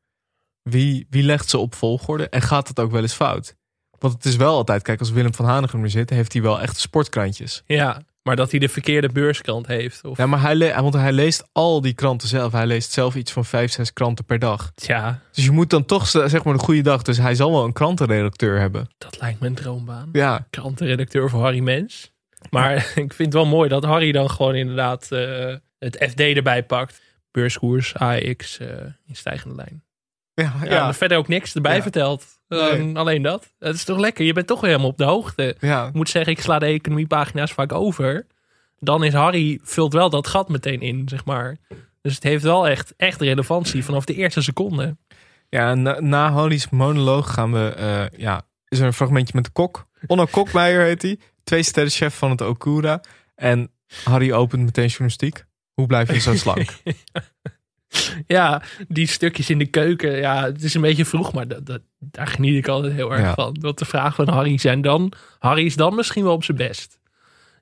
Speaker 1: wie, wie legt ze op volgorde en gaat dat ook wel eens fout? Want het is wel altijd, kijk, als Willem van Hanegem er zit, heeft hij wel echt sportkrantjes.
Speaker 2: Ja, maar dat hij de verkeerde beurskant heeft. Of,
Speaker 1: Ja, maar hij, le- want hij leest al die kranten zelf. Hij leest zelf iets van vijf, zes kranten per dag.
Speaker 2: Tja,
Speaker 1: Dus je moet dan toch z- zeg maar een goede dag. Dus hij zal wel een krantenredacteur hebben.
Speaker 2: dat lijkt me een droombaan.
Speaker 1: Ja,
Speaker 2: Krantenredacteur voor Harry Mens. Maar ik vind het wel mooi dat Harry dan gewoon inderdaad eh, het FD erbij pakt. Beurskoers, AX in stijgende lijn.
Speaker 1: ja,
Speaker 2: Ja,
Speaker 1: ja.
Speaker 2: en verder ook niks erbij
Speaker 1: Ja.
Speaker 2: verteld. Eh,
Speaker 1: Nee.
Speaker 2: Alleen dat. Dat is toch lekker? Je bent toch weer helemaal op de hoogte.
Speaker 1: ja.
Speaker 2: Ik moet zeggen, ik sla de economiepagina's vaak over. Dan is Harry, vult wel dat gat meteen in, zeg maar. Dus het heeft wel echt, echt relevantie vanaf de eerste seconde.
Speaker 1: Ja, en na, na Holly's monoloog gaan we. eh, ja, is er een fragmentje met de kok. Onno Kokmeijer heet hij. Twee sterren chef van het Okura. En Harry opent meteen journalistiek. Hoe blijf je zo slank?
Speaker 2: Ja, die stukjes in de keuken. Ja, het is een beetje vroeg, maar dat, dat, daar geniet ik altijd heel erg
Speaker 1: Ja.
Speaker 2: van. Want de vragen van Harry zijn dan... Harry is dan misschien wel op zijn best.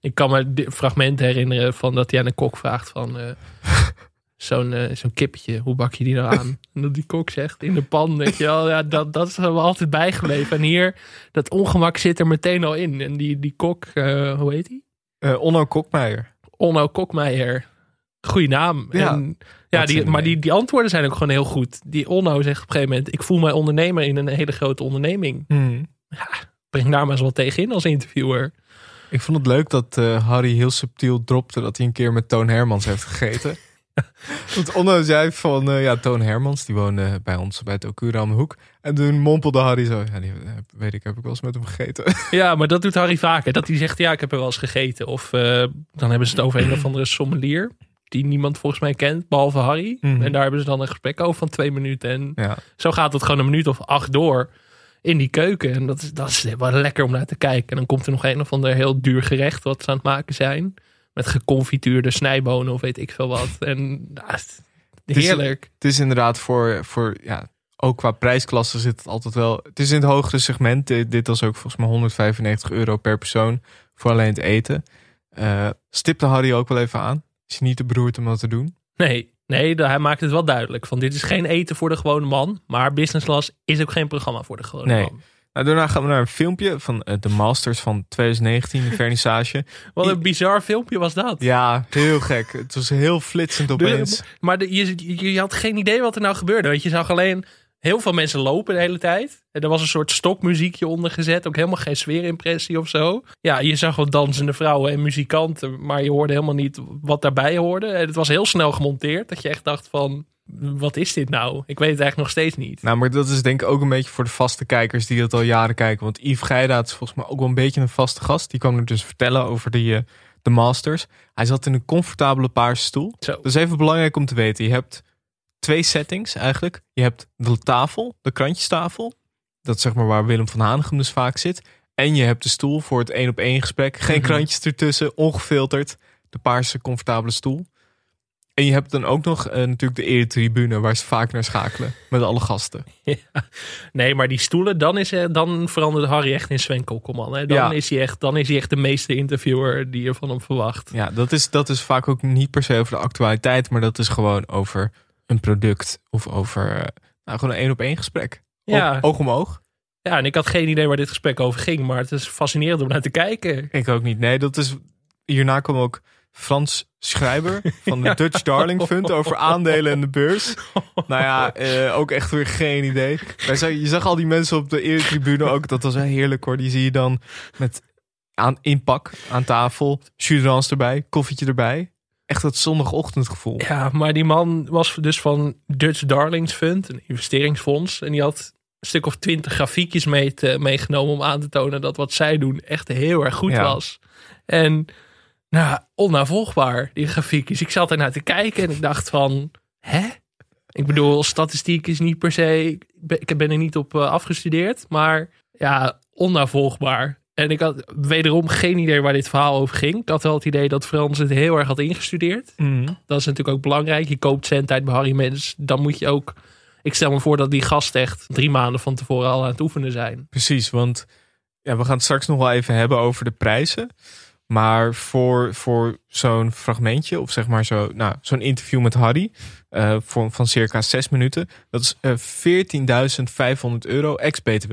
Speaker 2: Ik kan me dit fragment herinneren van dat hij aan de kok vraagt van... eh, Zo'n eh, zo'n kippetje, hoe bak je die nou aan? En dat die kok zegt, in de pan, weet je wel. Ja, dat, dat is me altijd bijgebleven. En hier, dat ongemak zit er meteen al in. En die, die kok, eh, hoe heet hij?
Speaker 1: Eh, Onno Kokmeijer.
Speaker 2: Onno Kokmeijer. Goeie naam.
Speaker 1: Ja,
Speaker 2: en, ja
Speaker 1: zin
Speaker 2: die,
Speaker 1: in
Speaker 2: maar
Speaker 1: heeft.
Speaker 2: die, die antwoorden zijn ook gewoon heel goed. Die Onno zegt op een gegeven moment... ik voel mij ondernemer in een hele grote onderneming.
Speaker 1: Hmm.
Speaker 2: Breng daar maar eens wat tegen in als interviewer.
Speaker 1: Ik vond het leuk dat eh, Harry heel subtiel dropte dat hij een keer met Toon Hermans heeft gegeten. Want Onno zei van, eh, ja, Toon Hermans, die woonde bij ons bij het Okura om de hoek. En toen mompelde Harry zo, ja, die, eh, weet ik, heb ik wel eens met hem gegeten.
Speaker 2: Ja, maar dat doet Harry vaker. Dat hij zegt, ja, ik heb er wel eens gegeten. Of eh, dan hebben ze het over een of andere sommelier... die niemand volgens mij kent, behalve Harry.
Speaker 1: Mhm.
Speaker 2: En daar hebben ze dan een gesprek over van twee minuten. En
Speaker 1: ja.
Speaker 2: zo gaat het gewoon een minuut of acht door in die keuken. En dat is, dat is wel lekker om naar te kijken. En dan komt er nog een of ander heel duur gerecht wat ze aan het maken zijn. Met geconfituurde snijbonen of weet ik veel wat. En nou, het-
Speaker 1: is-
Speaker 2: heerlijk.
Speaker 1: het is inderdaad voor, voor ja, ook qua prijsklasse zit het altijd wel. Het is in het hogere segment. Dit, dit was ook volgens mij 195 euro per persoon voor alleen het eten. Eh, stipte Harry ook wel even aan. Is hij niet te beroerd om dat te doen?
Speaker 2: Nee, nee, da- hij maakt het wel duidelijk. Van dit is geen eten voor de gewone man. Maar business class is ook geen programma voor de gewone
Speaker 1: Nee.
Speaker 2: man.
Speaker 1: Nou, daarna gaan we naar een filmpje van eh, de Masters van 2019, de vernissage.
Speaker 2: Wat een bizar filmpje was dat.
Speaker 1: ja, heel gek. Het was heel flitsend opeens.
Speaker 2: Maar de- je, je, je had geen idee wat er nou gebeurde. Want je zag alleen heel veel mensen lopen de hele tijd. En er was een soort stokmuziekje onder gezet. Ook helemaal geen sfeerimpressie of zo. Ja, je zag wat dansende vrouwen en muzikanten. Maar je hoorde helemaal niet wat daarbij hoorde. En het was heel snel gemonteerd. Dat je echt dacht van... wat is dit nou? Ik weet het eigenlijk nog steeds niet.
Speaker 1: Nou, maar dat is denk ik ook een beetje voor de vaste kijkers die dat al jaren kijken. Want Yves Geida is volgens mij ook wel een beetje een vaste gast. Die kwam er dus vertellen over die, eh, de Masters. Hij zat in een comfortabele paarse stoel.
Speaker 2: Zo.
Speaker 1: Dat is even belangrijk om te weten. Je hebt twee settings eigenlijk. Je hebt de tafel, de krantjestafel. Dat is zeg maar waar Willem van Hanegem dus vaak zit. En je hebt de stoel voor het één op één gesprek. Geen
Speaker 2: Mhm.
Speaker 1: krantjes ertussen, ongefilterd. De paarse comfortabele stoel. En je hebt dan ook nog eh, natuurlijk de eretribune waar ze vaak naar schakelen. Met alle gasten.
Speaker 2: Nee, maar die stoelen, dan, is, eh, dan verandert Harry echt in Sven Kokkelman. Hè? Dan,
Speaker 1: Ja.
Speaker 2: is hij echt, dan is hij echt de meeste interviewer die je van hem verwacht.
Speaker 1: Ja, dat is, dat is vaak ook niet per se over de actualiteit. Maar dat is gewoon over een product. Of over eh, nou, gewoon een één op één gesprek.
Speaker 2: Ja.
Speaker 1: Oog, oog om oog.
Speaker 2: Ja, en ik had geen idee waar dit gesprek over ging, maar het is fascinerend om naar te kijken.
Speaker 1: Ik ook niet. Nee, dat is. Hierna kwam ook Frans Schrijber van de Dutch Darling Fund over aandelen en de beurs. Nou ja, eh, ook echt weer geen idee. Wij zag- je zag al die mensen op de eretribune ook. Dat was wel heerlijk hoor. Die zie je dan met aan, inpak aan tafel. Jurans erbij, koffietje erbij. Echt dat zondagochtendgevoel.
Speaker 2: Ja, maar die man was dus van Dutch Darlings Fund, een investeringsfonds. En die had een stuk of twintig grafiekjes mee te- meegenomen om aan te tonen dat wat zij doen echt heel erg goed
Speaker 1: Ja.
Speaker 2: was. En nou, onnavolgbaar, die grafiekjes. Ik zat ernaar te kijken en ik dacht van, hè? Ik bedoel, statistiek is niet per se, ik ben- ik ben er niet op eh, afgestudeerd, maar ja, onnavolgbaar. En ik had wederom geen idee waar dit verhaal over ging. Ik had wel het idee dat Frans het heel erg had ingestudeerd.
Speaker 1: Mhm.
Speaker 2: Dat is natuurlijk ook belangrijk. Je koopt zendtijd bij Harry Mens. Dan moet je ook... Ik stel me voor dat die gast echt drie maanden van tevoren al aan het oefenen zijn.
Speaker 1: Precies, want ja, we gaan het straks nog wel even hebben over de prijzen. Maar voor, voor zo'n fragmentje, of zeg maar zo, nou, zo'n interview met Harry, eh, voor, van circa zes minuten, dat is eh 14.500 euro ex-BTW.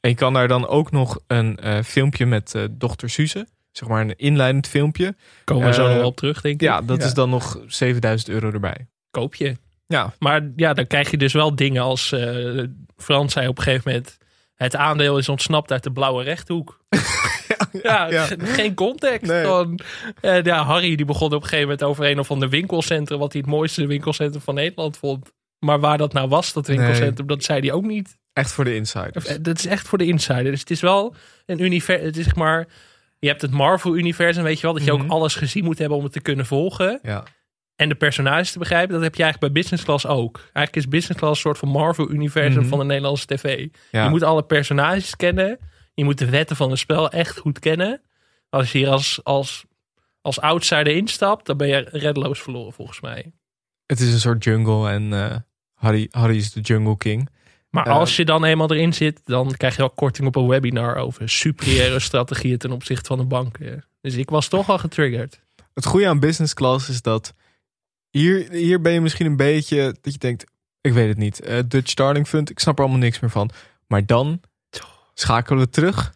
Speaker 1: En je kan daar dan ook nog een eh, filmpje met eh dochter Suze, zeg maar een inleidend filmpje.
Speaker 2: Komen we zo
Speaker 1: Eh,
Speaker 2: nog wel op terug, denk ik.
Speaker 1: Ja, dat is dan nog 7000 euro erbij.
Speaker 2: Koop je.
Speaker 1: Ja,
Speaker 2: Maar ja, dan krijg je dus wel dingen als... eh, Frans zei op een gegeven moment... Het aandeel is ontsnapt uit de blauwe rechthoek. ja,
Speaker 1: ja.
Speaker 2: ge- geen context.
Speaker 1: Nee.
Speaker 2: Dan, eh, ja, Harry die begon op een gegeven moment over een of ander winkelcentrum... wat hij het mooiste winkelcentrum van Nederland vond. Maar waar dat nou was, dat winkelcentrum, dat zei hij ook niet.
Speaker 1: echt voor de insiders.
Speaker 2: Eh, Dat is echt voor de insider. Dus het is wel een universum. Het is zeg maar. Je hebt het Marvel-universum, weet je wel. Dat je
Speaker 1: Mhm.
Speaker 2: ook alles gezien moet hebben om het te kunnen volgen.
Speaker 1: Ja.
Speaker 2: En de personages te begrijpen. Dat heb je eigenlijk bij Business Class ook. Eigenlijk is Business Class een soort van Marvel-universum
Speaker 1: Mhm.
Speaker 2: van de Nederlandse tv.
Speaker 1: Ja.
Speaker 2: Je moet alle personages kennen. Je moet de wetten van het spel echt goed kennen. Als je hier als, als, als outsider instapt, dan ben je reddeloos verloren volgens mij.
Speaker 1: Het is een soort jungle en eh, Harry, Harry is de jungle king.
Speaker 2: Maar
Speaker 1: Eh,
Speaker 2: als je dan eenmaal erin zit, dan krijg je wel korting op een webinar over superieure strategieën ten opzichte van de banken. Dus ik was toch al getriggerd.
Speaker 1: Het goede aan business class is dat hier, hier ben je misschien een beetje dat je denkt, ik weet het niet, eh, Dutch Starling Fund, ik snap er allemaal niks meer van. Maar dan schakelen we terug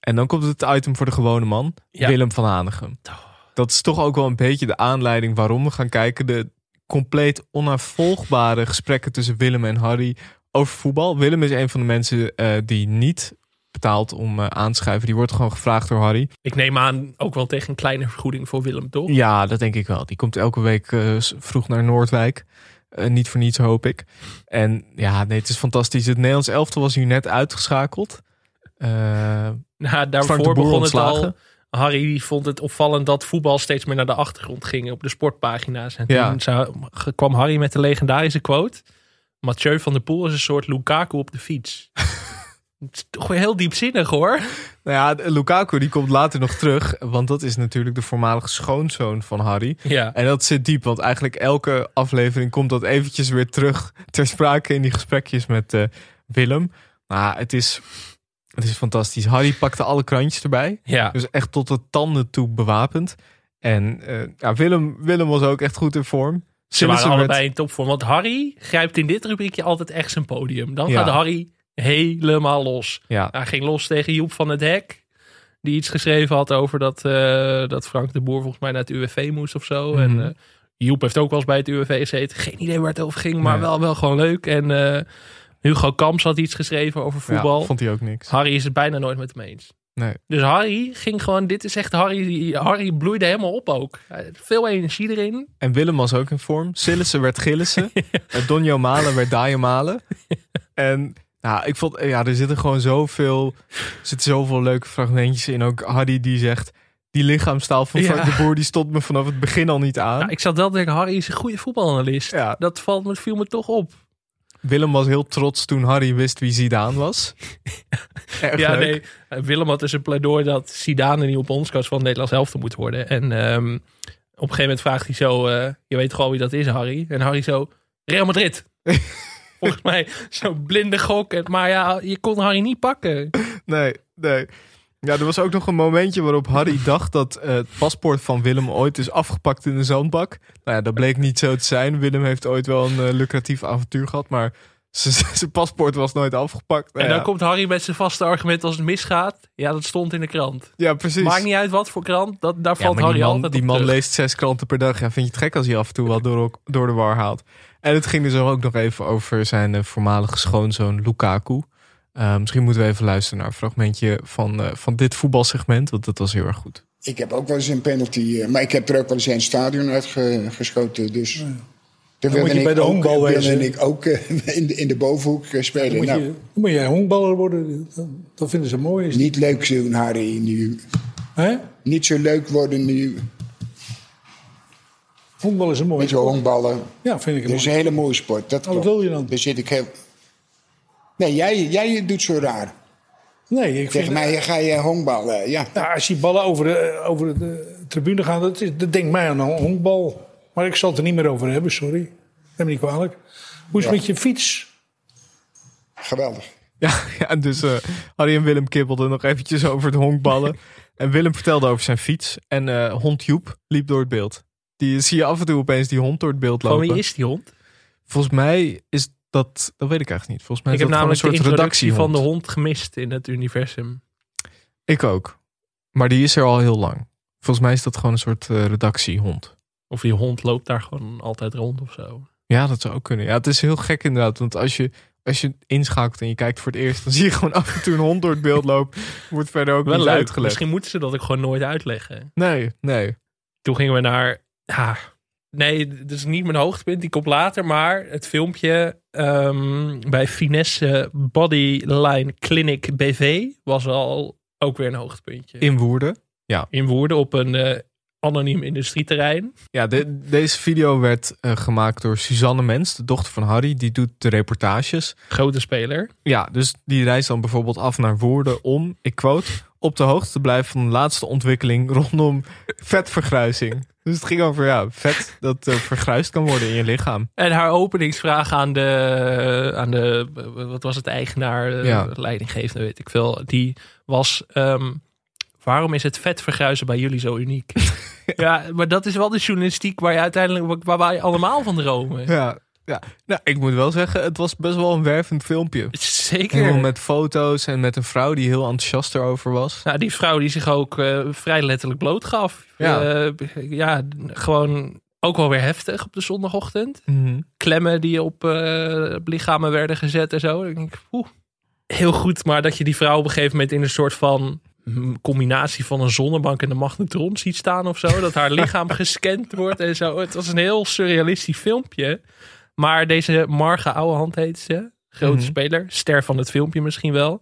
Speaker 1: en dan komt het item voor de gewone man,
Speaker 2: Ja.
Speaker 1: Willem van Hanegem. Dat is toch ook wel een beetje de aanleiding waarom we gaan kijken. De compleet onafvolgbare gesprekken tussen Willem en Harry over voetbal. Willem is een van de mensen eh, die niet betaalt om eh, aan te schuiven. Die wordt gewoon gevraagd door Harry.
Speaker 2: Ik neem aan ook wel tegen een kleine vergoeding voor Willem, toch?
Speaker 1: Ja, dat denk ik wel. Die komt elke week eh, s- vroeg naar Noordwijk. Eh, niet voor niets, hoop ik. En ja, nee, het is fantastisch. Het Nederlands elftal was hier net uitgeschakeld. Eh,
Speaker 2: Nou,
Speaker 1: Frank de
Speaker 2: daarvoor
Speaker 1: Boer
Speaker 2: begon het
Speaker 1: ontslagen.
Speaker 2: al. Harry die vond het opvallend dat voetbal steeds meer naar de achtergrond ging op de sportpagina's. En
Speaker 1: Ja.
Speaker 2: toen zou- kwam Harry met de legendarische quote: Mathieu van der Poel is een soort Lukaku op de fiets. Het is toch weer heel diepzinnig hoor.
Speaker 1: nou ja, de- Lukaku die komt later nog terug. Want dat is natuurlijk de voormalige schoonzoon van Harry.
Speaker 2: Ja.
Speaker 1: En dat zit diep, want eigenlijk elke aflevering komt dat eventjes weer terug ter sprake in die gesprekjes met eh, Willem. Maar het is, het is fantastisch. Harry pakte alle krantjes erbij.
Speaker 2: ja.
Speaker 1: Dus echt tot de tanden toe bewapend. En eh, ja, Willem, Willem was ook echt goed in vorm.
Speaker 2: Ze waren
Speaker 1: Sillissen werd-
Speaker 2: allebei in topvorm. Want Harry grijpt in dit rubriekje altijd echt zijn podium. Dan
Speaker 1: Ja.
Speaker 2: gaat Harry helemaal los.
Speaker 1: Ja,
Speaker 2: Hij ging los tegen Joep van het Hek. Die iets geschreven had over dat, eh, dat Frank de Boer volgens mij naar het UWV moest of zo. En
Speaker 1: Mhm.
Speaker 2: eh, Joep heeft ook wel eens bij het UWV gezeten. Geen idee waar het over ging, maar
Speaker 1: Nee.
Speaker 2: wel, wel gewoon leuk. En eh, Hugo Kamps had iets geschreven over
Speaker 1: ja,
Speaker 2: voetbal.
Speaker 1: vond hij ook niks.
Speaker 2: Harry is het bijna nooit met hem eens.
Speaker 1: Nee.
Speaker 2: Dus Harry ging gewoon, dit is echt Harry, Harry bloeide helemaal op ook. Hij had Veel energie erin.
Speaker 1: En Willem was ook in vorm. Sillissen werd Gillissen. En Donjo Malen werd Dajo Malen. En nou, ik vond, ja, er zitten gewoon zoveel, er zitten zoveel leuke fragmentjes in. Ook Hardy die zegt, die lichaamstaal van Frank
Speaker 2: Ja.
Speaker 1: de Boer, die stond me vanaf het begin al niet aan.
Speaker 2: Nou, ik zat wel te denken, Harry is een goede voetbalanalist.
Speaker 1: Ja.
Speaker 2: Dat valt me, viel me toch op.
Speaker 1: Willem was heel trots toen Harry wist wie Zidane was. Erg
Speaker 2: ja,
Speaker 1: leuk.
Speaker 2: nee. eh, Willem had dus een pleidooi dat Zidane de nieuwe bondscoach van Nederlands helft moet worden. En ehm, op een gegeven moment vraagt hij zo, eh, je weet gewoon wie dat is Harry. En Harry zo, Real Madrid. Volgens mij zo'n blinde gok. En- Maar ja, je kon Harry niet pakken.
Speaker 1: Nee, nee. Ja, er was ook nog een momentje waarop Harry dacht dat eh, het paspoort van Willem ooit is afgepakt in de zandbak. Nou ja, dat bleek niet zo te zijn. Willem heeft ooit wel een eh, lucratief avontuur gehad, maar z- zijn paspoort was nooit afgepakt. Nou
Speaker 2: en dan
Speaker 1: ja.
Speaker 2: komt Harry met zijn vaste argument als het misgaat. Ja, dat stond in de krant.
Speaker 1: ja, precies.
Speaker 2: Maakt niet uit wat voor krant, dat, daar
Speaker 1: Ja,
Speaker 2: valt
Speaker 1: maar
Speaker 2: Harry
Speaker 1: die man,
Speaker 2: altijd
Speaker 1: die
Speaker 2: op
Speaker 1: man
Speaker 2: terug.
Speaker 1: leest zes kranten per dag. Ja, vind je het gek als hij af en toe wat door, door de war haalt? En het ging dus ook nog even over zijn eh, voormalige schoonzoon Lukaku. Eh, misschien moeten we even luisteren naar een fragmentje van, eh, van dit voetbalsegment, want dat was heel erg goed.
Speaker 5: Ik heb ook wel eens een penalty, eh, maar ik heb er ook wel eens een stadion uitgeschoten. Dus dan
Speaker 8: moet
Speaker 5: wilde
Speaker 8: je bij
Speaker 5: ik
Speaker 8: de
Speaker 5: ook,
Speaker 8: honkbal
Speaker 5: wilde
Speaker 8: wezen.
Speaker 5: ik ook eh, in, de, in de bovenhoek eh, spelen.
Speaker 8: Moet,
Speaker 5: nou,
Speaker 8: je, moet jij honkballer worden? Dat, dat vinden ze mooi. Is
Speaker 5: niet leuk doen, Harry, nu.
Speaker 8: Hè?
Speaker 5: Niet zo leuk worden nu
Speaker 8: Honkbal is een mooie
Speaker 5: met zo'n honkballen.
Speaker 8: Ja, vind ik
Speaker 5: Dat
Speaker 8: het
Speaker 5: is
Speaker 8: mooi.
Speaker 5: een
Speaker 8: Oh,
Speaker 5: hele mooie sport. Dat
Speaker 8: wat
Speaker 5: klopt.
Speaker 8: wil je dan?
Speaker 5: Daar zit ik heel... Nee, jij, jij doet zo raar.
Speaker 8: Nee, ik
Speaker 5: Tegen
Speaker 8: vind,
Speaker 5: mij ga je honkballen, ja.
Speaker 8: nou, als die ballen over de, over de tribune gaan, dat, is, dat denkt mij aan een honkbal. Maar ik zal het er niet meer over hebben, sorry. Neem me niet kwalijk. Hoe is het
Speaker 5: Ja.
Speaker 8: met je fiets?
Speaker 5: Geweldig.
Speaker 1: Ja, ja en dus eh, Harry en Willem kibbelden nog eventjes over het honkballen. en Willem vertelde over zijn fiets. En eh, hond Joep liep door het beeld. Die zie je af en toe opeens die hond door het beeld
Speaker 2: Van
Speaker 1: lopen.
Speaker 2: wie is die hond?
Speaker 1: Volgens mij is dat... Dat weet ik eigenlijk niet. Volgens mij
Speaker 2: Ik
Speaker 1: is
Speaker 2: heb
Speaker 1: dat
Speaker 2: namelijk de
Speaker 1: gewoon een soort
Speaker 2: introductie
Speaker 1: redactiehond.
Speaker 2: van de hond gemist in het universum.
Speaker 1: Ik ook. Maar die is er al heel lang. Volgens mij is dat gewoon een soort eh, redactiehond.
Speaker 2: Of die hond loopt daar gewoon altijd rond of zo.
Speaker 1: Ja, dat zou ook kunnen. Ja, het is heel gek inderdaad. Want als je, als je inschakelt en je kijkt voor het eerst... dan zie je gewoon af en toe een hond door het beeld lopen. Wordt verder ook
Speaker 2: Wel
Speaker 1: niet
Speaker 2: leuk.
Speaker 1: uitgelegd.
Speaker 2: Misschien moeten ze dat ook gewoon nooit uitleggen.
Speaker 1: Nee, nee.
Speaker 2: Toen gingen we naar... Ja, nee, dit is niet mijn hoogtepunt. Die komt later. Maar het filmpje ehm, bij Finesse Bodyline Clinic BV was al ook weer een hoogtepuntje. In,
Speaker 1: In Woerden.
Speaker 2: Woerden op een eh, anoniem industrieterrein.
Speaker 1: Ja, de- deze video werd eh, gemaakt door Suzanne Mens, de dochter van Harry. Die doet de reportages.
Speaker 2: Grote speler.
Speaker 1: Ja, dus die reist dan bijvoorbeeld af naar Woerden om, ik quote, op de hoogte te blijven van de laatste ontwikkeling rondom vetvergruising. Dus het ging over ja, vet dat eh, vergruisd kan worden in je lichaam.
Speaker 2: En haar openingsvraag aan de, aan de wat was het, eigenaar, eh,
Speaker 1: Ja.
Speaker 2: leidinggevende, weet ik veel. Die was, ehm, waarom is het vet vergruizen bij jullie zo uniek? ja, maar dat is wel de journalistiek waar je uiteindelijk, waar- waar wij allemaal van dromen.
Speaker 1: Ja, ja. Nou, ik moet wel zeggen, het was best wel een wervend filmpje.
Speaker 2: Zeker.
Speaker 1: Helemaal met foto's en met een vrouw die heel enthousiast erover was.
Speaker 2: Nou, die vrouw die zich ook eh, vrij letterlijk bloot gaf.
Speaker 1: Ja.
Speaker 2: Eh, ja, gewoon ook wel weer heftig op de zondagochtend.
Speaker 1: Mhm.
Speaker 2: klemmen die op eh, op lichamen werden gezet en zo. Ik denk, oeh. Heel goed, maar dat je die vrouw op een gegeven moment in een soort van mm, combinatie van een zonnebank en een magnetron ziet staan of zo. Dat haar lichaam gescand wordt en zo. Het was een heel surrealistisch filmpje. Maar deze Marga Ouwehand heet ze. Grote
Speaker 1: Mhm.
Speaker 2: speler. Ster van het filmpje misschien wel.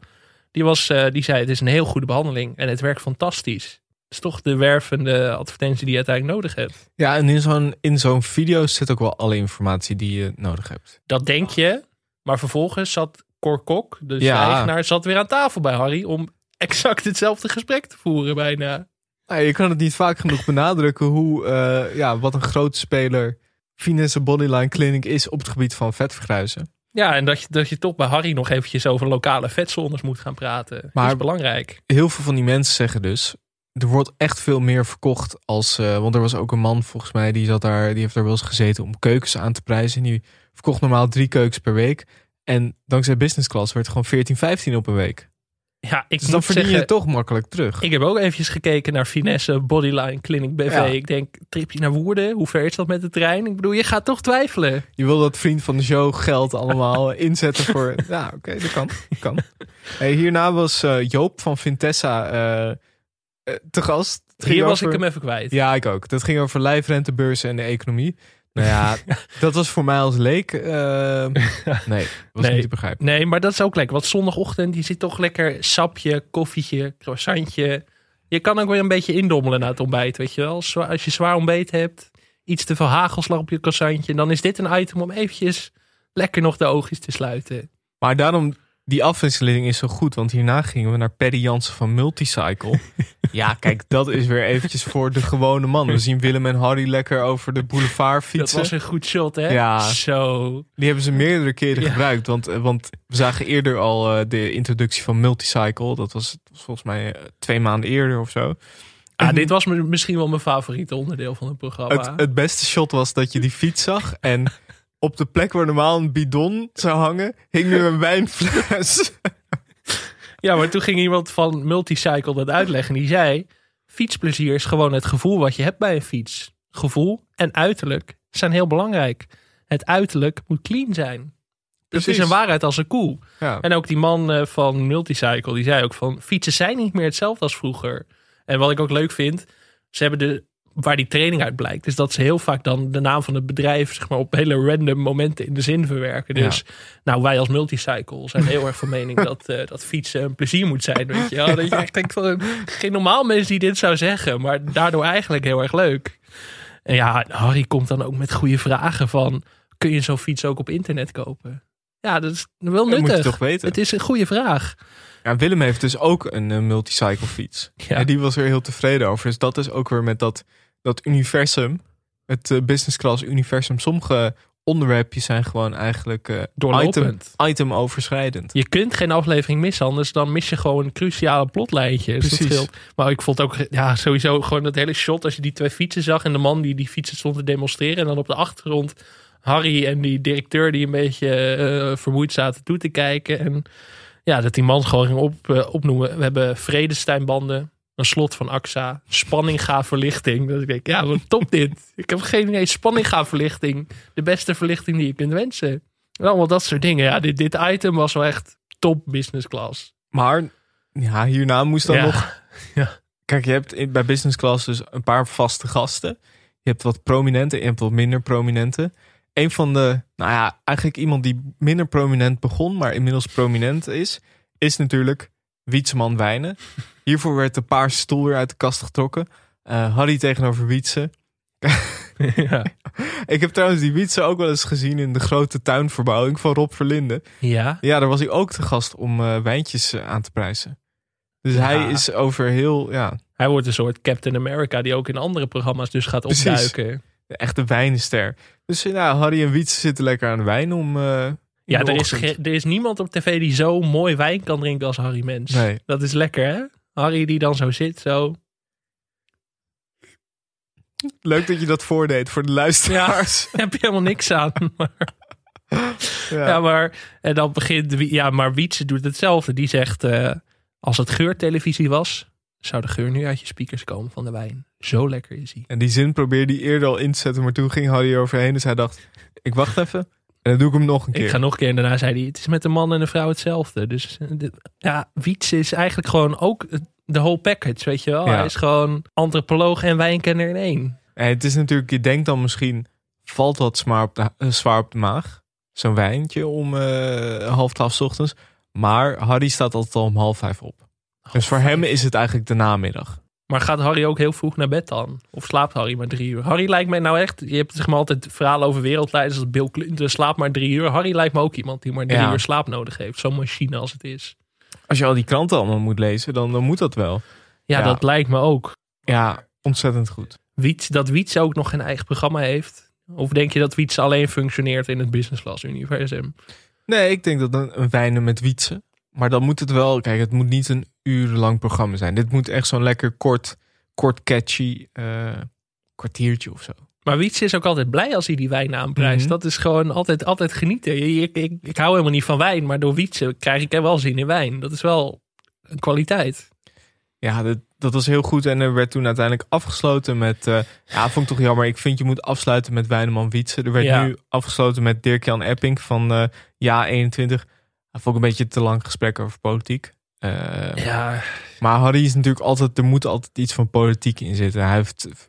Speaker 2: Die, was, eh, die zei, het is een heel goede behandeling en het werkt fantastisch. Het is toch de wervende advertentie die je uiteindelijk nodig hebt.
Speaker 1: Ja, en in zo'n, in zo'n video zit ook wel alle informatie die je nodig hebt.
Speaker 2: Dat denk je. Maar vervolgens zat Cor Kok, de
Speaker 1: Ja.
Speaker 2: eigenaar, zat weer aan tafel bij Harry om exact hetzelfde gesprek te voeren bijna.
Speaker 1: Nou, je kan het niet vaak genoeg benadrukken hoe, eh, ja, wat een grote speler Finesse Bodyline Clinic is op het gebied van vetvergruizen.
Speaker 2: Ja, en dat je, dat je toch bij Harry nog eventjes over lokale vetzones moet gaan praten. Maar,
Speaker 1: Maar-
Speaker 2: dat is belangrijk.
Speaker 1: Heel veel van die mensen zeggen dus, er wordt echt veel meer verkocht als, eh, want er was ook een man volgens mij, die, zat daar, die heeft daar wel eens gezeten om keukens aan te prijzen. En die verkocht normaal drie keukens per week. En dankzij business class werd het gewoon 14, 15 op een week.
Speaker 2: Ja, ik
Speaker 1: Dus
Speaker 2: moet
Speaker 1: dan verdien
Speaker 2: zeggen,
Speaker 1: je toch makkelijk terug.
Speaker 2: Ik heb ook eventjes gekeken naar Finesse, Bodyline, Clinic BV.
Speaker 1: Ja.
Speaker 2: Ik denk, tripje naar Woerden, hoe ver is dat met de trein? Ik bedoel, je gaat toch twijfelen.
Speaker 1: Je wil dat vriend van de show geld allemaal inzetten voor... Ja, oké, dat kan. Dat kan. Hey, hierna was eh, Joop van Vintessa eh, eh, te gast. Het ging
Speaker 2: Hier was ik
Speaker 1: over-
Speaker 2: hem even kwijt.
Speaker 1: Ja, ik ook. Dat ging over lijfrentebeurzen en de economie. Nou ja, dat was voor mij als leek... eh, nee, was
Speaker 2: Nee.
Speaker 1: niet te begrijpen.
Speaker 2: Nee, maar dat is ook lekker. Want zondagochtend, je zit toch lekker sapje, koffietje, croissantje. Je kan ook weer een beetje indommelen na het ontbijt, weet je wel. Zwa- Als je zwaar ontbeet hebt, iets te veel hagelslag op je croissantje. Dan is dit een item om eventjes lekker nog de oogjes te sluiten.
Speaker 1: Maar daarom, die afwisseling is zo goed. Want hierna gingen we naar Perry Jansen van Multicycle. ja, kijk, dat is weer eventjes voor de gewone man. We zien Willem en Harry lekker over de boulevard
Speaker 2: Dat
Speaker 1: fietsen.
Speaker 2: was een goed shot, hè?
Speaker 1: Ja.
Speaker 2: Zo.
Speaker 1: Die hebben ze meerdere keren
Speaker 2: Ja.
Speaker 1: gebruikt. Want, eh, want we zagen eerder al eh, de introductie van Multicycle. Dat was volgens mij eh, twee maanden eerder of zo.
Speaker 2: Ah, dit was m- misschien wel mijn favoriete onderdeel van het programma.
Speaker 1: Het, het beste shot was dat je die fiets zag. En op de plek waar normaal een bidon zou hangen, hing nu een wijnfles.
Speaker 2: Ja, maar toen ging iemand van Multicycle dat uitleggen. Die zei: Fietsplezier is gewoon het gevoel wat je hebt bij een fiets. Gevoel en uiterlijk zijn heel belangrijk. Het uiterlijk moet clean zijn. Dat
Speaker 1: Precies.
Speaker 2: is een waarheid als een koe.
Speaker 1: Ja.
Speaker 2: En ook die man eh, van Multicycle, die zei ook van... fietsen zijn niet meer hetzelfde als vroeger. En wat ik ook leuk vind, ze hebben de... waar die training uit blijkt... is dat ze heel vaak dan de naam van het bedrijf... zeg maar op hele random momenten in de zin verwerken.
Speaker 1: Ja.
Speaker 2: Dus nou, wij als Multicycle zijn heel erg van mening... dat, eh, dat fietsen een plezier moet zijn, weet je wel. Dat je echt denkt van, geen normaal mens die dit zou zeggen... maar daardoor eigenlijk heel erg leuk. En ja, Harry komt dan ook met goede vragen van... kun je zo'n fiets ook op internet kopen? Ja, dat is wel
Speaker 1: Dat
Speaker 2: nuttig.
Speaker 1: moet je toch weten.
Speaker 2: Het is een goede vraag.
Speaker 1: Ja, Willem heeft dus ook een eh, multicycle fiets.
Speaker 2: Ja.
Speaker 1: En die was er heel tevreden over. Dus dat is ook weer met dat, dat universum. Het eh, business class universum. Sommige onderwerpjes zijn gewoon eigenlijk eh, item,
Speaker 2: Doorlopend.
Speaker 1: item overschrijdend.
Speaker 2: Je kunt geen aflevering missen, anders dan mis je gewoon cruciale plotlijntjes. Dus Dat
Speaker 1: Precies.
Speaker 2: scheelt. Maar ik vond ook, ja, sowieso gewoon dat hele shot als je die twee fietsen zag en de man die die fietsen stond te demonstreren. En dan op de achtergrond Harry en die directeur die een beetje eh, vermoeid zaten toe te kijken. En ja, dat die man gewoon ging op, eh, opnoemen. We hebben vredesteinbanden, een slot van AXA, spanning ga verlichting. Dat ik denk, ja, wat top dit. Ik heb geen idee, spanning ga verlichting. De beste verlichting die je kunt wensen. En allemaal dat soort dingen. Ja, dit, dit item was wel echt top business class.
Speaker 1: Maar ja, hierna moest dan
Speaker 2: Ja.
Speaker 1: nog Kijk, je hebt in- bij business class dus een paar vaste gasten. Je hebt wat prominente en je hebt wat minder prominente. Een van de, nou ja, eigenlijk iemand die minder prominent begon, maar inmiddels prominent is, is natuurlijk Wietseman Wijnen. Hiervoor werd de paarse stoel weer uit de kast getrokken. Eh, Harry tegenover Wietse.
Speaker 2: ja.
Speaker 1: Ik heb trouwens die Wietse ook wel eens gezien in de grote tuinverbouwing van Rob Verlinde.
Speaker 2: ja.
Speaker 1: Ja, daar was hij ook te gast om eh, wijntjes eh, aan te prijzen. Dus hij is over heel, ja,
Speaker 2: Hij wordt een soort Captain America die ook in andere programma's dus gaat
Speaker 1: Precies.
Speaker 2: opduiken.
Speaker 1: De echte wijnenster. Dus eh, nou, Harry en Wietse zitten lekker aan de wijn om. eh, in
Speaker 2: Ja,
Speaker 1: de
Speaker 2: er is,
Speaker 1: ochtend.
Speaker 2: ge- er is niemand op tv die zo mooi wijn kan drinken als Harry Mens.
Speaker 1: Nee.
Speaker 2: Dat is lekker, hè? Harry die dan zo zit, zo.
Speaker 1: Leuk dat je dat voordeed voor de luisteraars.
Speaker 2: Daar heb je helemaal niks aan. Maar,
Speaker 1: Ja.
Speaker 2: ja. maar, en dan begint... Wie- Ja, maar Wietse doet hetzelfde. Die zegt, eh, als het geurtelevisie was... zou de geur nu uit je speakers komen van de wijn. Zo lekker is hij.
Speaker 1: En die zin probeerde hij eerder al in te zetten, maar toen ging Harry overheen. Dus hij dacht: ik wacht even. En dan doe ik hem nog een keer.
Speaker 2: Ik ga nog een keer en daarna zei hij... het is met een man en een vrouw hetzelfde. Dus eh, de- ja, Wietse is eigenlijk gewoon ook de whole package, weet je wel.
Speaker 1: Ja.
Speaker 2: Hij is gewoon antropoloog en wijnkenner in één.
Speaker 1: En het is natuurlijk, je denkt dan misschien: valt dat zwaar op de, eh, zwaar op de maag? Zo'n wijntje om eh, half twaalf 's ochtends. Maar Harry staat altijd al om half vijf op. dus voor hem is het eigenlijk de namiddag.
Speaker 2: Maar gaat Harry ook heel vroeg naar bed dan? Of slaapt Harry maar drie uur? Harry lijkt mij nou echt... Je hebt zeg maar altijd verhalen over wereldleiders... als Bill Clinton slaapt maar drie uur. Harry lijkt me ook iemand die maar drie
Speaker 1: Ja.
Speaker 2: uur slaap nodig heeft. Zo'n machine als het is.
Speaker 1: Als je al die kranten allemaal moet lezen, dan, dan moet dat wel.
Speaker 2: Ja,
Speaker 1: Ja.
Speaker 2: dat lijkt me ook.
Speaker 1: Ja, ontzettend goed.
Speaker 2: Wiets, dat Wiets ook nog geen eigen programma heeft. Of denk je dat Wiets alleen functioneert in het business class universum?
Speaker 1: Nee, ik denk dat een, een wijnen met wietsen. Maar dan moet het wel, kijk, het moet niet een urenlang programma zijn. Dit moet echt zo'n lekker kort, kort catchy eh, kwartiertje of zo.
Speaker 2: Maar Wiets is ook altijd blij als hij die wijn aanprijst.
Speaker 1: Mhm.
Speaker 2: Dat is gewoon altijd, altijd genieten. Je- je- ik, ik hou helemaal niet van wijn, maar door Wietsen krijg ik er wel zin in wijn. Dat is wel een kwaliteit.
Speaker 1: Ja, dat, dat was heel goed. En er werd toen uiteindelijk afgesloten met... eh, ja, vond ik toch jammer. Ik vind je moet afsluiten met Weineman Wietse. Er werd
Speaker 2: Ja.
Speaker 1: nu afgesloten met Dirk-Jan Epping van eh, Ja 21. Dat vond ik een beetje te lang gesprek over politiek. Eh,
Speaker 2: Ja,
Speaker 1: Maar Harry is natuurlijk altijd... Er moet altijd iets van politiek in zitten. Hij heeft v-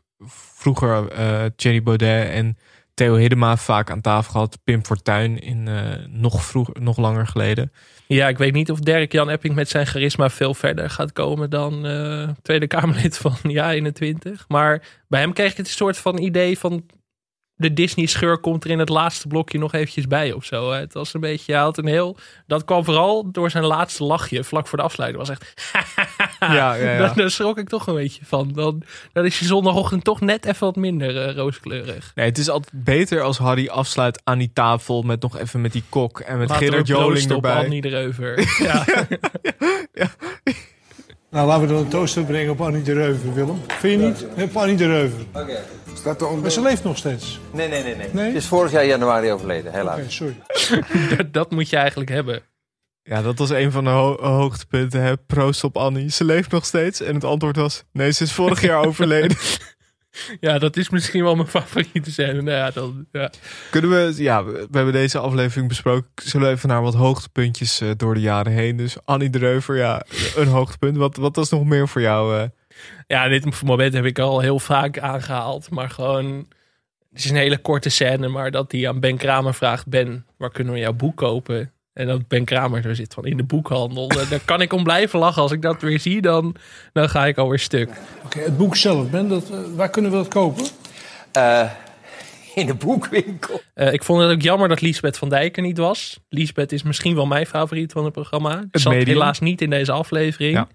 Speaker 1: vroeger eh Thierry Baudet en Theo Hiddema vaak aan tafel gehad. Pim Fortuyn in, eh, nog, vroeg, nog langer geleden.
Speaker 2: ja ik weet niet of Dirk-Jan Epping met zijn charisma veel verder gaat komen dan eh, Tweede Kamerlid van ja 21. Maar bij hem kreeg ik het een soort van idee van de Disney-scheur komt er in het laatste blokje nog eventjes bij of zo. Het was een beetje, hij had een heel, dat kwam vooral door zijn laatste lachje vlak voor de afsluiting. Het was echt,
Speaker 1: Ja, ja, ja.
Speaker 2: Daar, daar schrok ik toch een beetje van. Dan, dan is je zondagochtend toch net even wat minder eh, rooskleurig.
Speaker 1: Nee, het is altijd beter als Harry afsluit aan die tafel met nog even met die kok en met
Speaker 2: Laten we
Speaker 1: Gerard Joling
Speaker 2: proosten op
Speaker 1: erbij.
Speaker 2: Annie erover. Ja.
Speaker 8: Nou, laten we dan een toaster brengen op Annie de Reuver, Willem. Vind je niet? Op Annie de Reuver.
Speaker 5: Staat er onder...
Speaker 8: Maar ze leeft nog steeds.
Speaker 9: Nee, nee, nee, nee.
Speaker 8: Nee?
Speaker 9: Ze is vorig jaar januari overleden, helaas.
Speaker 8: Oké, sorry.
Speaker 2: dat, dat moet je eigenlijk hebben.
Speaker 1: Ja, dat was een van de ho- hoogtepunten. Hè? Proost op Annie. Ze leeft nog steeds. En het antwoord was: nee, ze is vorig jaar overleden.
Speaker 2: Ja, dat is misschien wel mijn favoriete scène. Nou ja, dan, ja.
Speaker 1: Kunnen we, ja, we we hebben deze aflevering besproken. Zullen we even naar wat hoogtepuntjes eh, door de jaren heen? Dus Annie Dreuver, ja, een hoogtepunt. Wat, wat was nog meer voor jou? eh?
Speaker 2: ja, dit moment heb ik al heel vaak aangehaald. Maar gewoon, het is een hele korte scène. Maar dat hij aan Ben Kramer vraagt, Ben, waar kunnen we jouw boek kopen? En dat Ben Kramer er zit van in de boekhandel. Eh, Daar kan ik om blijven lachen. Als ik dat weer zie, dan, dan ga ik alweer stuk.
Speaker 8: Oké, het boek zelf, Ben, dat, eh, waar kunnen we dat kopen?
Speaker 9: Eh, in de boekwinkel.
Speaker 2: Eh, ik vond het ook jammer dat Liesbeth van Dijk er niet was. Liesbeth is misschien wel mijn favoriet van het programma. Het zat
Speaker 1: medium.
Speaker 2: helaas niet in deze aflevering.
Speaker 1: Ja.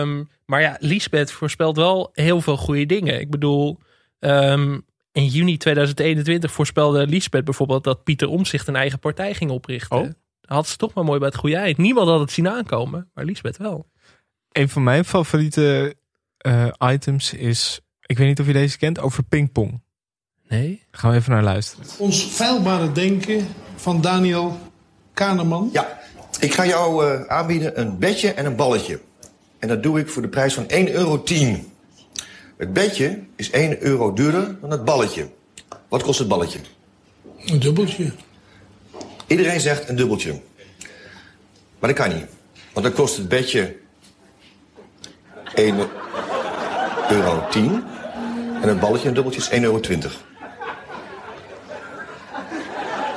Speaker 2: Ehm, maar ja, Liesbeth voorspelt wel heel veel goede dingen. Ik bedoel, ehm, in juni 2021 voorspelde Liesbeth bijvoorbeeld dat Pieter Omzicht een eigen partij ging oprichten.
Speaker 1: Oh.
Speaker 2: Dat Had ze toch maar mooi bij het goede eind. Niemand had het zien aankomen, maar Liesbeth wel.
Speaker 1: Een van mijn favoriete eh, items is: ik weet niet of je deze kent, over pingpong.
Speaker 2: Nee?
Speaker 1: Gaan we even naar luisteren.
Speaker 8: Ons feilbare denken van Daniel Kahneman.
Speaker 10: Ja, ik ga jou eh, aanbieden een bedje en een balletje. En dat doe ik voor de prijs van 1,10 euro. Het bedje is 1 euro duurder dan het balletje. Wat kost het balletje?
Speaker 8: Een dubbeltje.
Speaker 10: Iedereen zegt een dubbeltje. Maar dat kan niet. Want dan kost het bedje 1 euro 10. En het balletje, een dubbeltje, is 1,20 euro.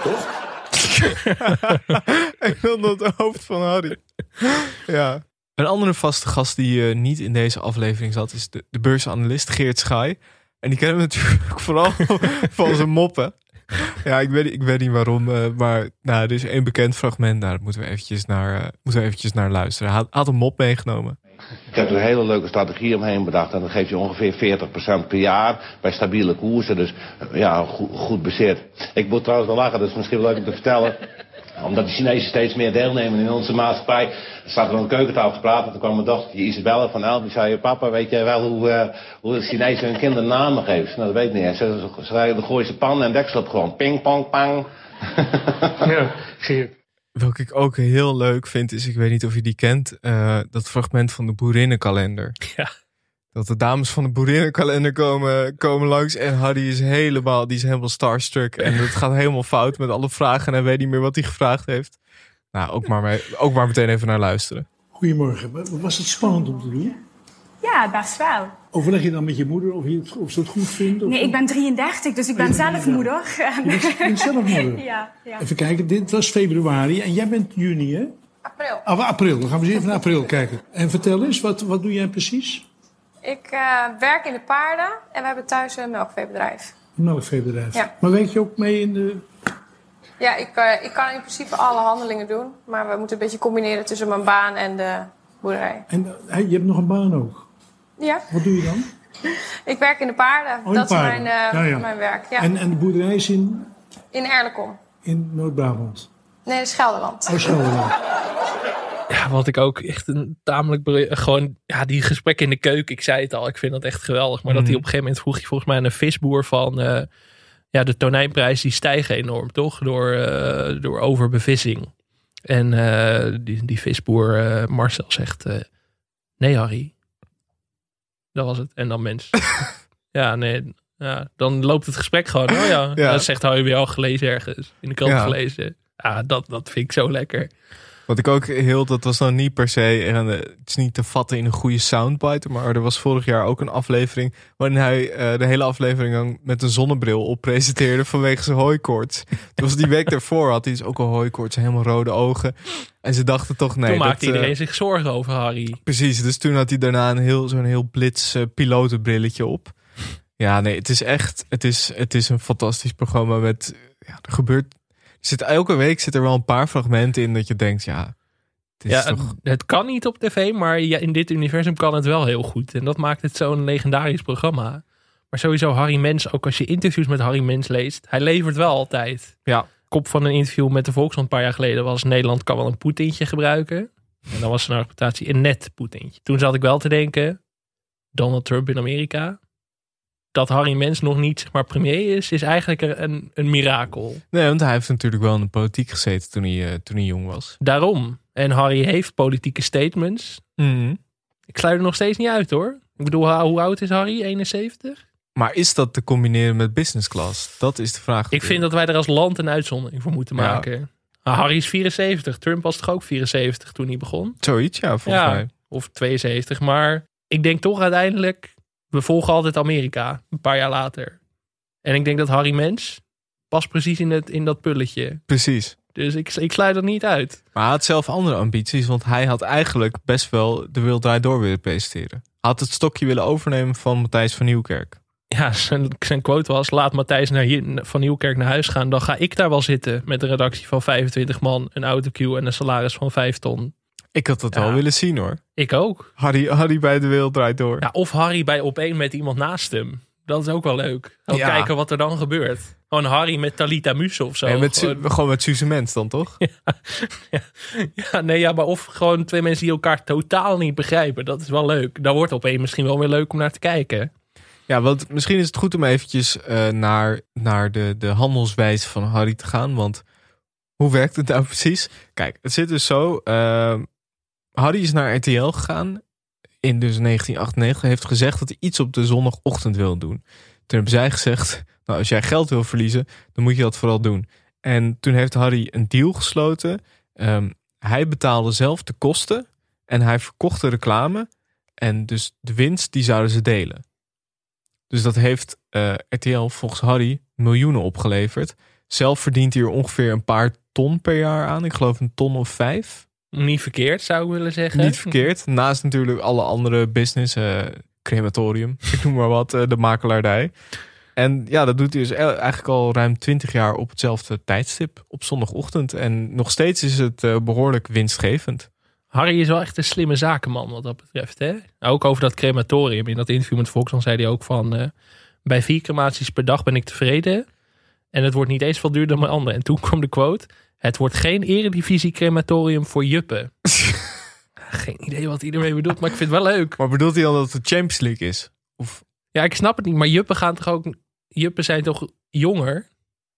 Speaker 10: Toch?
Speaker 1: Ik wil dat hoofd van Harry. Ja. Een andere vaste gast die eh, niet in deze aflevering zat, is de, de beursanalist Geert Schaai. En die kennen we natuurlijk vooral van zijn moppen. Ja, ik weet, ik weet niet waarom, eh, maar nou, er is één bekend fragment. Nou, Daar moeten we eventjes naar, eh, moeten we eventjes naar luisteren. Hij had- had een mop meegenomen.
Speaker 11: Ik heb er een hele leuke strategie omheen bedacht. En dat geeft je ongeveer 40% per jaar bij stabiele koersen. Dus eh, ja, goed, goed bezit. Ik moet trouwens wel lachen, dat is misschien wel leuk om te vertellen. Omdat de Chinezen steeds meer deelnemen in onze maatschappij. Er staat er aan de keukentafel te praten. Toen kwam mijn dochtertje Isabelle van Elb. Die zei, papa, weet jij wel hoe, eh, hoe de Chinezen hun kinderen namen geven? Nou, dat weet ik niet. Ze ze- ze zei, dan gooi ze pan en deksel op gewoon. Ping, pong, pang.
Speaker 1: Welke ik ook heel leuk vind, is, ik weet niet of je die kent, eh, dat fragment van de boerinnenkalender.
Speaker 2: Ja.
Speaker 1: Dat de dames van de boerinnenkalender komen, komen langs en Harry is helemaal, die is helemaal starstruck. En het gaat helemaal fout met alle vragen en hij weet niet meer wat hij gevraagd heeft. Nou, ook maar, mee- ook maar meteen even naar luisteren.
Speaker 8: Goedemorgen. Wat was het spannend om te doen?
Speaker 4: Ja, best wel.
Speaker 8: Overleg je dan met je moeder of, je het, of ze het goed vindt? Of Oh,
Speaker 4: Nee, ik ben 33, dus ik ben zelf moeder. En-
Speaker 8: Je bent zelf moeder.
Speaker 4: Ja, ja.
Speaker 8: Even kijken, dit was februari en jij bent juni, hè?
Speaker 4: April.
Speaker 8: Ah, wa- april. Dan gaan we eens even naar april kijken. En vertel eens, wat, wat doe jij precies?
Speaker 4: Ik eh, werk in de paarden en we hebben thuis een melkveebedrijf.
Speaker 8: Een melkveebedrijf.
Speaker 4: Ja.
Speaker 8: Maar werk je ook mee in de...
Speaker 4: Ja, ik, eh, ik kan in principe alle handelingen doen, maar we moeten een beetje combineren tussen mijn baan en de boerderij.
Speaker 8: En eh, je hebt nog een baan ook.
Speaker 4: Ja,
Speaker 8: Wat doe je dan? Oh,
Speaker 4: ik werk in de paarden.
Speaker 8: in
Speaker 4: dat
Speaker 8: de paarden.
Speaker 4: is mijn, eh,
Speaker 8: Ja, ja.
Speaker 4: mijn werk. Ja.
Speaker 8: En, en de boerderij is in,
Speaker 4: In Erlekom.
Speaker 8: in Noord-Brabant.
Speaker 4: Nee, dat is Gelderland.
Speaker 8: Oh, Gelderland.
Speaker 2: Ja, wat ik ook echt een tamelijk. bri- Gewoon, ja, die gesprekken in de keuken. Ik zei het al, ik vind dat echt geweldig. Maar dat hij op een gegeven moment vroeg je volgens mij aan een visboer van. eh, ja, de tonijnprijs die stijgen enorm, toch? Door, eh, door overbevissing. En eh, die, die visboer eh, Marcel zegt: eh, Nee, Harry. Dat was het. En dan mens. ja, nee. Ja, dan loopt het gesprek gewoon. Oh ja,
Speaker 1: Ja.
Speaker 2: dat zegt Harry weer al gelezen ergens. In de krant
Speaker 1: Ja.
Speaker 2: gelezen. Ja, dat, dat vind ik zo lekker.
Speaker 1: Wat ik ook heel, dat was dan niet per se, en, eh, het is niet te vatten in een goede soundbite, maar er was vorig jaar ook een aflevering waarin hij eh, de hele aflevering dan met een zonnebril op presenteerde vanwege zijn hooikoorts. Dus die week daarvoor had hij dus ook een hooikoorts, helemaal rode ogen. En ze dachten toch, nee.
Speaker 2: Toen maakte
Speaker 1: dat, eh,
Speaker 2: iedereen zich zorgen over Harry.
Speaker 1: Precies, dus toen had hij daarna een heel, zo'n heel blits eh, pilotenbrilletje op. Ja, nee, het is echt, het is, het is een fantastisch programma met, ja, er gebeurt, er zit, elke week zit er wel een paar fragmenten in dat je denkt, ja, het is
Speaker 2: ja,
Speaker 1: toch...
Speaker 2: het, het kan niet op tv, maar ja, in dit universum kan het wel heel goed. En dat maakt het zo'n legendarisch programma. Maar sowieso Harry Mens, ook als je interviews met Harry Mens leest, hij levert wel altijd.
Speaker 1: Ja.
Speaker 2: Kop van een interview met de Volkskrant een paar jaar geleden was Nederland kan wel een Poetintje gebruiken. En dan was zijn argumentatie een net Poetintje. Toen zat ik wel te denken, Donald Trump in Amerika. Dat Harry Mens nog niet zeg maar, premier is, is eigenlijk een, een mirakel.
Speaker 1: Nee, want hij heeft natuurlijk wel in de politiek gezeten toen hij, eh, toen hij jong was.
Speaker 2: Daarom. En Harry heeft politieke statements.
Speaker 1: Mhm.
Speaker 2: Ik sluit er nog steeds niet uit hoor. Ik bedoel, ha- hoe oud is Harry? 71?
Speaker 1: Maar is dat te combineren met business class? Dat is de vraag.
Speaker 2: Ik vind dat wij er als land een uitzondering voor moeten
Speaker 1: Ja.
Speaker 2: maken. Maar Harry is 74. Trump was toch ook 74 toen hij begon?
Speaker 1: Zoiets, ja, volgens mij.
Speaker 2: Of 72. Maar ik denk toch uiteindelijk, we volgen altijd Amerika. Een paar jaar later. En ik denk dat Harry Mens past precies in, het, in dat pulletje.
Speaker 1: Precies.
Speaker 2: Dus ik, ik sluit dat niet uit.
Speaker 1: Maar hij had zelf andere ambities, want hij had eigenlijk best wel de Wereld Draait Door willen presenteren. Hij had het stokje willen overnemen van Matthijs van Nieuwkerk.
Speaker 2: Ja, zijn, zijn quote was: Laat Matthijs naar hier, van Nieuwkerk naar huis gaan. Dan ga ik daar wel zitten met een redactie van 25 man, een autocue en een salaris van 5 ton.
Speaker 1: Ik had dat wel willen zien hoor.
Speaker 2: Ik ook.
Speaker 1: Harry, Harry bij de Wereld Draait Door.
Speaker 2: Ja, of Harry bij op één met iemand naast hem. Dat is ook wel leuk. Ook
Speaker 1: Ja.
Speaker 2: kijken wat er dan gebeurt. Gewoon Harry met Talita Muse of zo.
Speaker 1: Nee, met, Su-
Speaker 2: Gewoon-
Speaker 1: gewoon met Suze Mens dan toch?
Speaker 2: ja, nee, ja, maar of gewoon twee mensen die elkaar totaal niet begrijpen. Dat is wel leuk. Dan wordt op één misschien wel weer leuk om naar te kijken.
Speaker 1: Ja, want misschien is het goed om eventjes eh, naar, naar de, de handelswijze van Harry te gaan. Want hoe werkt het nou precies? Kijk, het zit dus zo. eh, Harry is naar RTL gegaan in dus 1998. Heeft gezegd dat hij iets op de zondagochtend wil doen. Toen hebben zij gezegd, nou als jij geld wil verliezen, dan moet je dat vooral doen. En toen heeft Harry een deal gesloten. Ehm, hij betaalde zelf de kosten en hij verkocht de reclame. En dus de winst, die zouden ze delen. Dus dat heeft eh, RTL volgens Harry miljoenen opgeleverd. Zelf verdient hij er ongeveer een paar ton per jaar aan. Ik geloof een ton of vijf.
Speaker 2: Niet verkeerd, zou ik willen zeggen.
Speaker 1: Niet verkeerd. Naast natuurlijk alle andere business. eh, crematorium, ik noem maar wat. eh, de makelaardij. En ja, dat doet hij dus e- eigenlijk al ruim twintig jaar op hetzelfde tijdstip. Op zondagochtend. En nog steeds is het eh, behoorlijk winstgevend.
Speaker 2: Harry is wel echt een slimme zakenman wat dat betreft. Hè? Nou, Ook over dat crematorium. In dat interview met Volkswagen zei hij ook van... eh, bij vier crematies per dag ben ik tevreden. En het wordt niet eens veel duurder dan mijn andere. En toen kwam de quote... Het wordt geen eredivisie crematorium voor juppen. Ah, geen idee wat hij ermee bedoelt, maar ik vind het wel leuk.
Speaker 1: Maar bedoelt hij dan dat het Champions League is? Of...
Speaker 2: Ja, ik snap het niet. Maar juppen gaan toch ook... Juppen zijn toch jonger?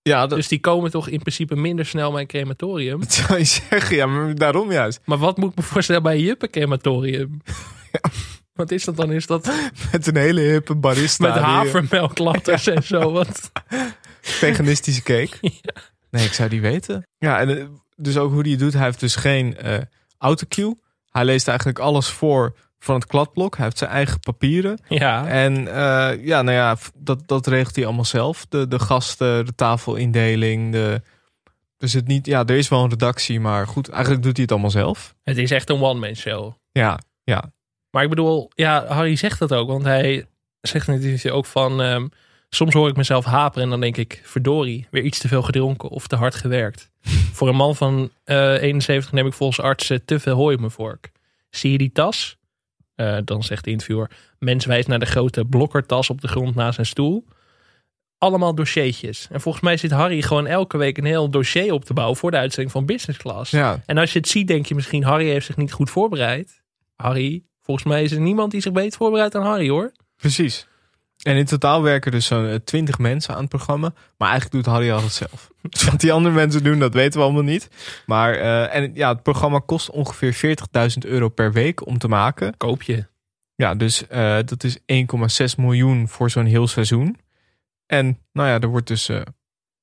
Speaker 1: Ja, dat
Speaker 2: Dus die komen toch in principe minder snel bij een crematorium?
Speaker 1: zou je zeggen. Ja, maar daarom juist.
Speaker 2: Maar wat moet ik me voorstellen bij een juppencrematorium? Wat is dat dan? Is dat
Speaker 1: Met een hele hippe barista.
Speaker 2: met
Speaker 1: die, eh,
Speaker 2: havermelklatters en zo? Wat?
Speaker 1: veganistische cake. Nee, ik zou die weten. Ja, en eh, dus ook hoe die het doet. Hij heeft dus geen eh autocue. Hij leest eigenlijk alles voor van het kladblok. Hij heeft zijn eigen papieren.
Speaker 2: Ja.
Speaker 1: En eh, ja, nou ja, v- dat, dat regelt hij allemaal zelf. De, de gasten, de tafelindeling. De, dus het niet, ja, er is wel een redactie, maar goed, eigenlijk doet hij het allemaal zelf.
Speaker 2: Het is echt een one-man show.
Speaker 1: Ja, ja.
Speaker 2: Maar ik bedoel, ja, Harry zegt dat ook. Want hij zegt in het interview ook van... ehm, soms hoor ik mezelf haperen en dan denk ik... verdorie, weer iets te veel gedronken of te hard gewerkt. voor een man van eh, 71 neem ik volgens artsen te veel hooi op mijn vork. Zie je die tas? Eh, dan zegt de interviewer... mens wijst naar de grote blokkertas op de grond naast zijn stoel. Allemaal dossiertjes. En volgens mij zit Harry gewoon elke week een heel dossier op te bouwen... voor de uitzending van Business Class.
Speaker 1: Ja.
Speaker 2: En als je het ziet, denk je misschien... Harry heeft zich niet goed voorbereid. Harry, volgens mij is er niemand die zich beter voorbereidt dan Harry, hoor.
Speaker 1: Precies. En in totaal werken dus zo'n twintig mensen aan het programma. Maar eigenlijk doet Harry al het zelf. Dus wat die andere mensen doen, dat weten we allemaal niet. Maar eh, en, ja, het programma kost ongeveer 40.000 euro per week om te maken.
Speaker 2: Koop je.
Speaker 1: Ja, dus eh, dat is 1,6 miljoen voor zo'n heel seizoen. En nou ja, er wordt dus eh,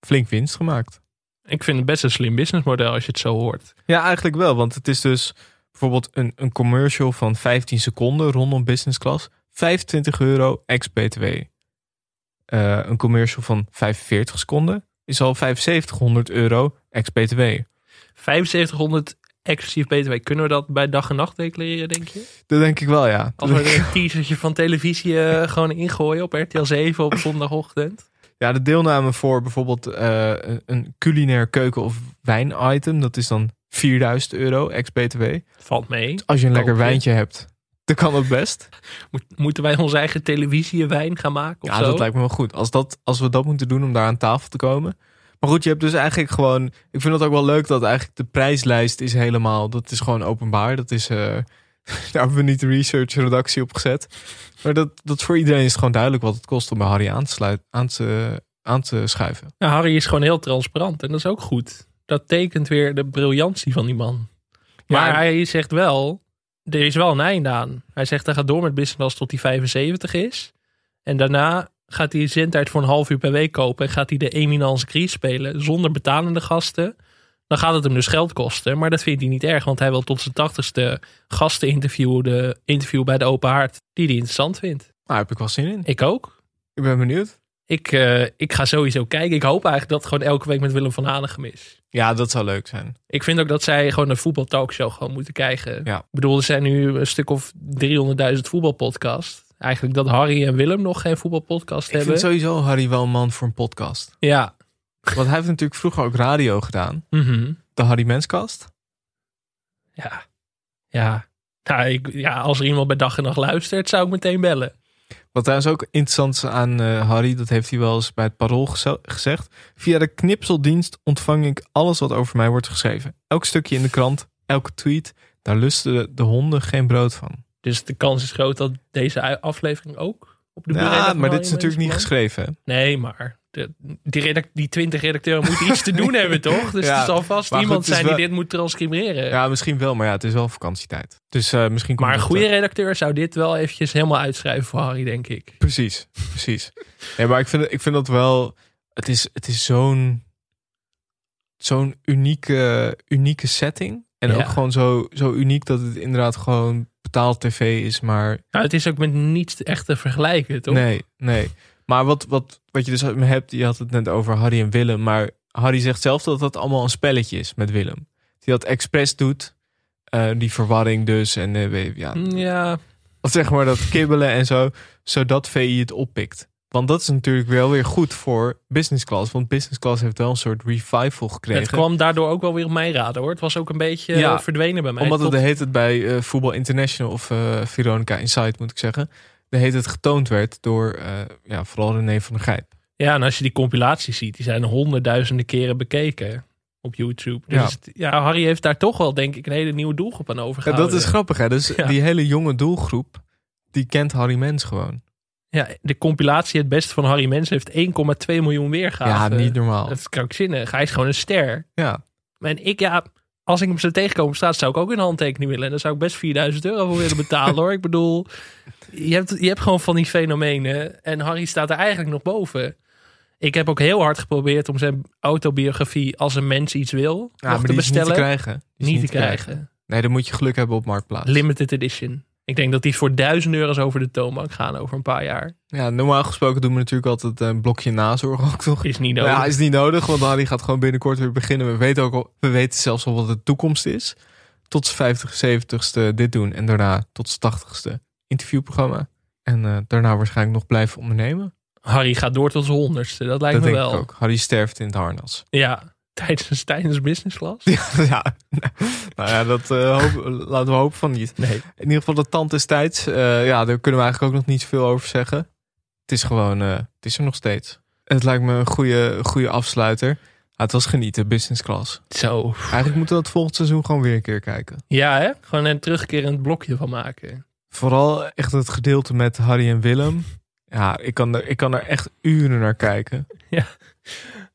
Speaker 1: flink winst gemaakt.
Speaker 2: Ik vind het best een slim businessmodel als je het zo hoort.
Speaker 1: Ja, eigenlijk wel. Want het is dus bijvoorbeeld een, een commercial van 15 seconden rondom business class. 25 euro ex-BTW. Eh, een commercial van 45 seconden is al 7500 euro ex-BTW.
Speaker 2: 7500 exclusief BTW. Kunnen we dat bij dag en nacht declareren, denk je?
Speaker 1: Dat denk ik wel, ja. Dus
Speaker 2: Als we er een teasertje van televisie eh, gewoon ingooien op RTL 7 op zondagochtend.
Speaker 1: Ja, de deelname voor bijvoorbeeld eh, een- een culinair keuken- of wijnitem, dat is dan 4000 euro ex-BTW.
Speaker 2: Valt mee.
Speaker 1: Als je een lekker
Speaker 2: Koop
Speaker 1: wijntje hebt, dan kan dat best.
Speaker 2: Moet- moeten wij onze eigen televisiewijn gaan maken of
Speaker 1: Ja,
Speaker 2: zo?
Speaker 1: dat lijkt me wel goed. Als, dat, als we dat moeten doen om daar aan tafel te komen. Maar goed, je hebt dus eigenlijk gewoon. Ik vind het ook wel leuk dat eigenlijk de prijslijst is helemaal. Dat is gewoon openbaar. Dat is. eh, daar hebben we niet de research redactie op gezet. Maar dat, dat voor iedereen is het gewoon duidelijk wat het kost om bij Harry aan te, sluiten, aan te, aan te schuiven.
Speaker 2: Nou, Harry is gewoon heel transparant en dat is ook goed. Dat tekent weer de briljantie van die man. Maar
Speaker 1: Ja, en-
Speaker 2: hij zegt wel, er is wel een einde aan. Hij zegt, hij gaat door met business class tot hij 75 is. En daarna gaat hij zendtijd voor een half uur per week kopen. En gaat hij de Eminence Gris spelen zonder betalende gasten. Dan gaat het hem dus geld kosten. Maar dat vindt hij niet erg, want hij wil tot zijn tachtigste gasten interviewen. De interview bij de open haard, die hij interessant vindt.
Speaker 1: Nou, heb ik wel zin in.
Speaker 2: Ik ook.
Speaker 1: Ik ben benieuwd.
Speaker 2: Ik, eh, ik ga sowieso kijken. Ik hoop eigenlijk dat het gewoon elke week met Willem van Hanegem is.
Speaker 1: Ja, dat zou leuk zijn.
Speaker 2: Ik vind ook dat zij gewoon een voetbaltalkshow gewoon moeten krijgen.
Speaker 1: Ja.
Speaker 2: Ik bedoel, er zijn nu een stuk of 300.000 voetbalpodcasts. Eigenlijk dat Harry en Willem nog geen voetbalpodcast
Speaker 1: Ik
Speaker 2: hebben.
Speaker 1: vind sowieso Harry wel een man voor een podcast.
Speaker 2: Ja.
Speaker 1: Want hij heeft natuurlijk vroeger ook radio gedaan.
Speaker 2: Mhm.
Speaker 1: De Harry Menskast.
Speaker 2: Ja. Ja. Nou, ik, ja. Als er iemand bij dag en nacht luistert, zou ik meteen bellen.
Speaker 1: Wat trouwens ook interessant is aan eh, Harry, dat heeft hij wel eens bij het parool geze- gezegd. Via de knipseldienst ontvang ik alles wat over mij wordt geschreven. Elk stukje in de krant, elke tweet, daar lusten de, de honden geen brood van.
Speaker 2: Dus de kans is groot dat deze u- aflevering ook op de bureau.
Speaker 1: Ja, maar dit is natuurlijk niet geschreven. hè?
Speaker 2: Nee, maar de, die, redac- die 20 redacteuren moeten iets te doen hebben, toch? Dus
Speaker 1: Ja,
Speaker 2: er zal vast
Speaker 1: maar goed,
Speaker 2: iemand
Speaker 1: het is
Speaker 2: zijn die
Speaker 1: wel-
Speaker 2: dit moet transcriberen.
Speaker 1: Ja, misschien wel, maar ja, het is wel vakantietijd. Dus eh, misschien komt
Speaker 2: maar een
Speaker 1: dat,
Speaker 2: goede
Speaker 1: eh,
Speaker 2: redacteur zou dit wel eventjes helemaal uitschrijven voor Harry, denk ik.
Speaker 1: Precies, precies. Nee, maar ik vind, het- ik vind dat wel... Het is, het is zo'n zo'n unieke, unieke setting. En
Speaker 2: Ja.
Speaker 1: ook gewoon zo, zo uniek dat het inderdaad gewoon betaald tv is, maar
Speaker 2: Nou, het is ook met niets echt te vergelijken, toch?
Speaker 1: Nee, nee. Maar wat, wat, wat je dus hebt, je had het net over Harry en Willem. Maar Harry zegt zelf dat dat allemaal een spelletje is met Willem. Die dat expres doet. eh, die verwarring dus. En eh, we- ja,
Speaker 2: Mm, Ja,
Speaker 1: of zeg maar dat kibbelen en zo. Zodat VI het oppikt. Want dat is natuurlijk wel weer goed voor business class. Want business class heeft wel een soort revival gekregen.
Speaker 2: het kwam daardoor ook wel weer op mijn radar, hoor. Het was ook een beetje
Speaker 1: Ja,
Speaker 2: eh, verdwenen bij mij.
Speaker 1: Omdat het
Speaker 2: Tot-
Speaker 1: de heet het bij eh, Voetbal International of eh, Veronica Insight moet ik zeggen. De heet het getoond werd door eh, ja, vooral René van der Gijp.
Speaker 2: Ja, en als je die compilaties ziet, die zijn honderdduizenden keren bekeken op YouTube. Dus
Speaker 1: Ja.
Speaker 2: het- ja. Harry heeft daar toch wel, denk ik, een hele nieuwe doelgroep aan
Speaker 1: Ja,
Speaker 2: overgehouden.
Speaker 1: dat is grappig, hè? Dus
Speaker 2: Ja.
Speaker 1: die hele jonge doelgroep, die kent Harry Mens gewoon.
Speaker 2: Ja, de compilatie Het Beste van Harry Mens heeft 1,2 miljoen weergaven.
Speaker 1: Ja, niet normaal.
Speaker 2: Dat is krankzinnig. Hij is gewoon een ster.
Speaker 1: Ja,
Speaker 2: En ik, ja, als ik hem zou tegenkomen op straat, zou ik ook een handtekening willen. En daar zou ik best 4000 euro voor willen betalen, hoor. Ik bedoel, je hebt, je hebt gewoon van die fenomenen. En Harry staat er eigenlijk nog boven. Ik heb ook heel hard geprobeerd om zijn autobiografie Als een mens iets wil
Speaker 1: ja
Speaker 2: nog
Speaker 1: maar
Speaker 2: te
Speaker 1: die is niet
Speaker 2: bestellen.
Speaker 1: te krijgen. Die is
Speaker 2: Niet te krijgen.
Speaker 1: Nee, dan moet je geluk hebben op Marktplaats.
Speaker 2: Limited edition. Ik denk dat die voor 1000 euro's over de toonbank gaan over een paar jaar.
Speaker 1: Ja, normaal gesproken doen we natuurlijk altijd een blokje nazorg ook nog.
Speaker 2: Is niet
Speaker 1: Maar
Speaker 2: nodig.
Speaker 1: Nou Ja, is niet nodig, want Harry gaat gewoon binnenkort weer beginnen. We weten, ook al, we weten zelfs al wat de toekomst is. Tot zijn 50, 70ste dit doen en daarna tot zijn 80ste interviewprogramma. En eh, daarna waarschijnlijk nog blijven ondernemen.
Speaker 2: Harry gaat door tot zijn honderdste. Dat lijkt
Speaker 1: dat
Speaker 2: me
Speaker 1: denk
Speaker 2: wel.
Speaker 1: ik ook. Harry sterft in het harnas.
Speaker 2: Ja, tijdens, tijdens business class.
Speaker 1: ja, nou ja, dat eh, hoop- laten we hopen van niet.
Speaker 2: Nee.
Speaker 1: In ieder geval, de tand is tijds. Eh, ja, daar kunnen we eigenlijk ook nog niet zoveel over zeggen. Het is gewoon, eh, het is er nog steeds. Het lijkt me een goede, een goede afsluiter. Ah, het was genieten, business class.
Speaker 2: Zo.
Speaker 1: Eigenlijk moeten we dat volgend seizoen gewoon weer een keer kijken.
Speaker 2: Ja, hè? Gewoon een terugkerend blokje van maken.
Speaker 1: Vooral echt het gedeelte met Harry en Willem. Ja, ik kan er, ik kan er echt uren naar kijken.
Speaker 2: Ja.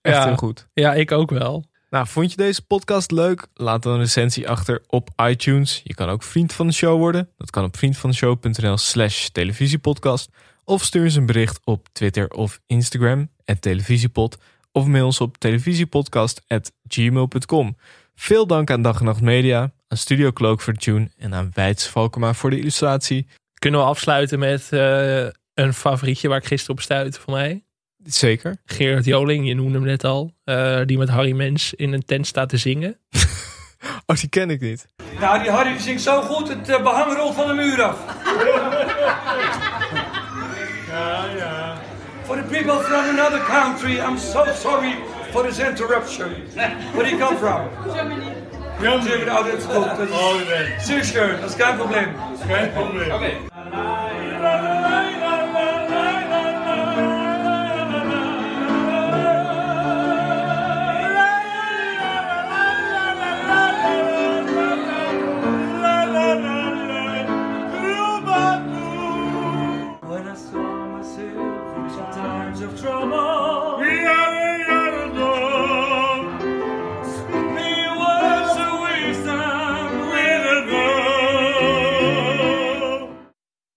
Speaker 1: Echt
Speaker 2: Ja.
Speaker 1: heel goed.
Speaker 2: Ja, ik ook wel.
Speaker 1: Nou, vond je deze podcast leuk? Laat dan een recensie achter op iTunes. Je kan ook vriend van de show worden. Dat kan op vriendvandeshow.nl slash televisiepodcast. Of stuur eens een bericht op Twitter of Instagram, at televisiepod. Of mail ons op televisiepodcast at gmail.com. Veel dank aan Dag en Nacht Media, aan Studio Cloak voor de tune en aan Weids Valkema voor de illustratie.
Speaker 2: Kunnen we afsluiten met eh, een favorietje waar ik gisteren op stuitte voor mij?
Speaker 1: Zeker.
Speaker 2: Gerard Joling, je noemde hem net al. eh, die met Harry Mens in een tent staat te zingen.
Speaker 1: Oh, die ken ik niet.
Speaker 12: Nou, die Harry zingt zo goed, het eh, behang rolt van de muur af. Ja, ja. For the people from another country, I'm so sorry for this interruption. Where do you come from? Germany. Germany, oh, dat is goed. Dat is zeer schön, dat is geen probleem. Geen probleem. Oké. When I saw myself in times of trouble,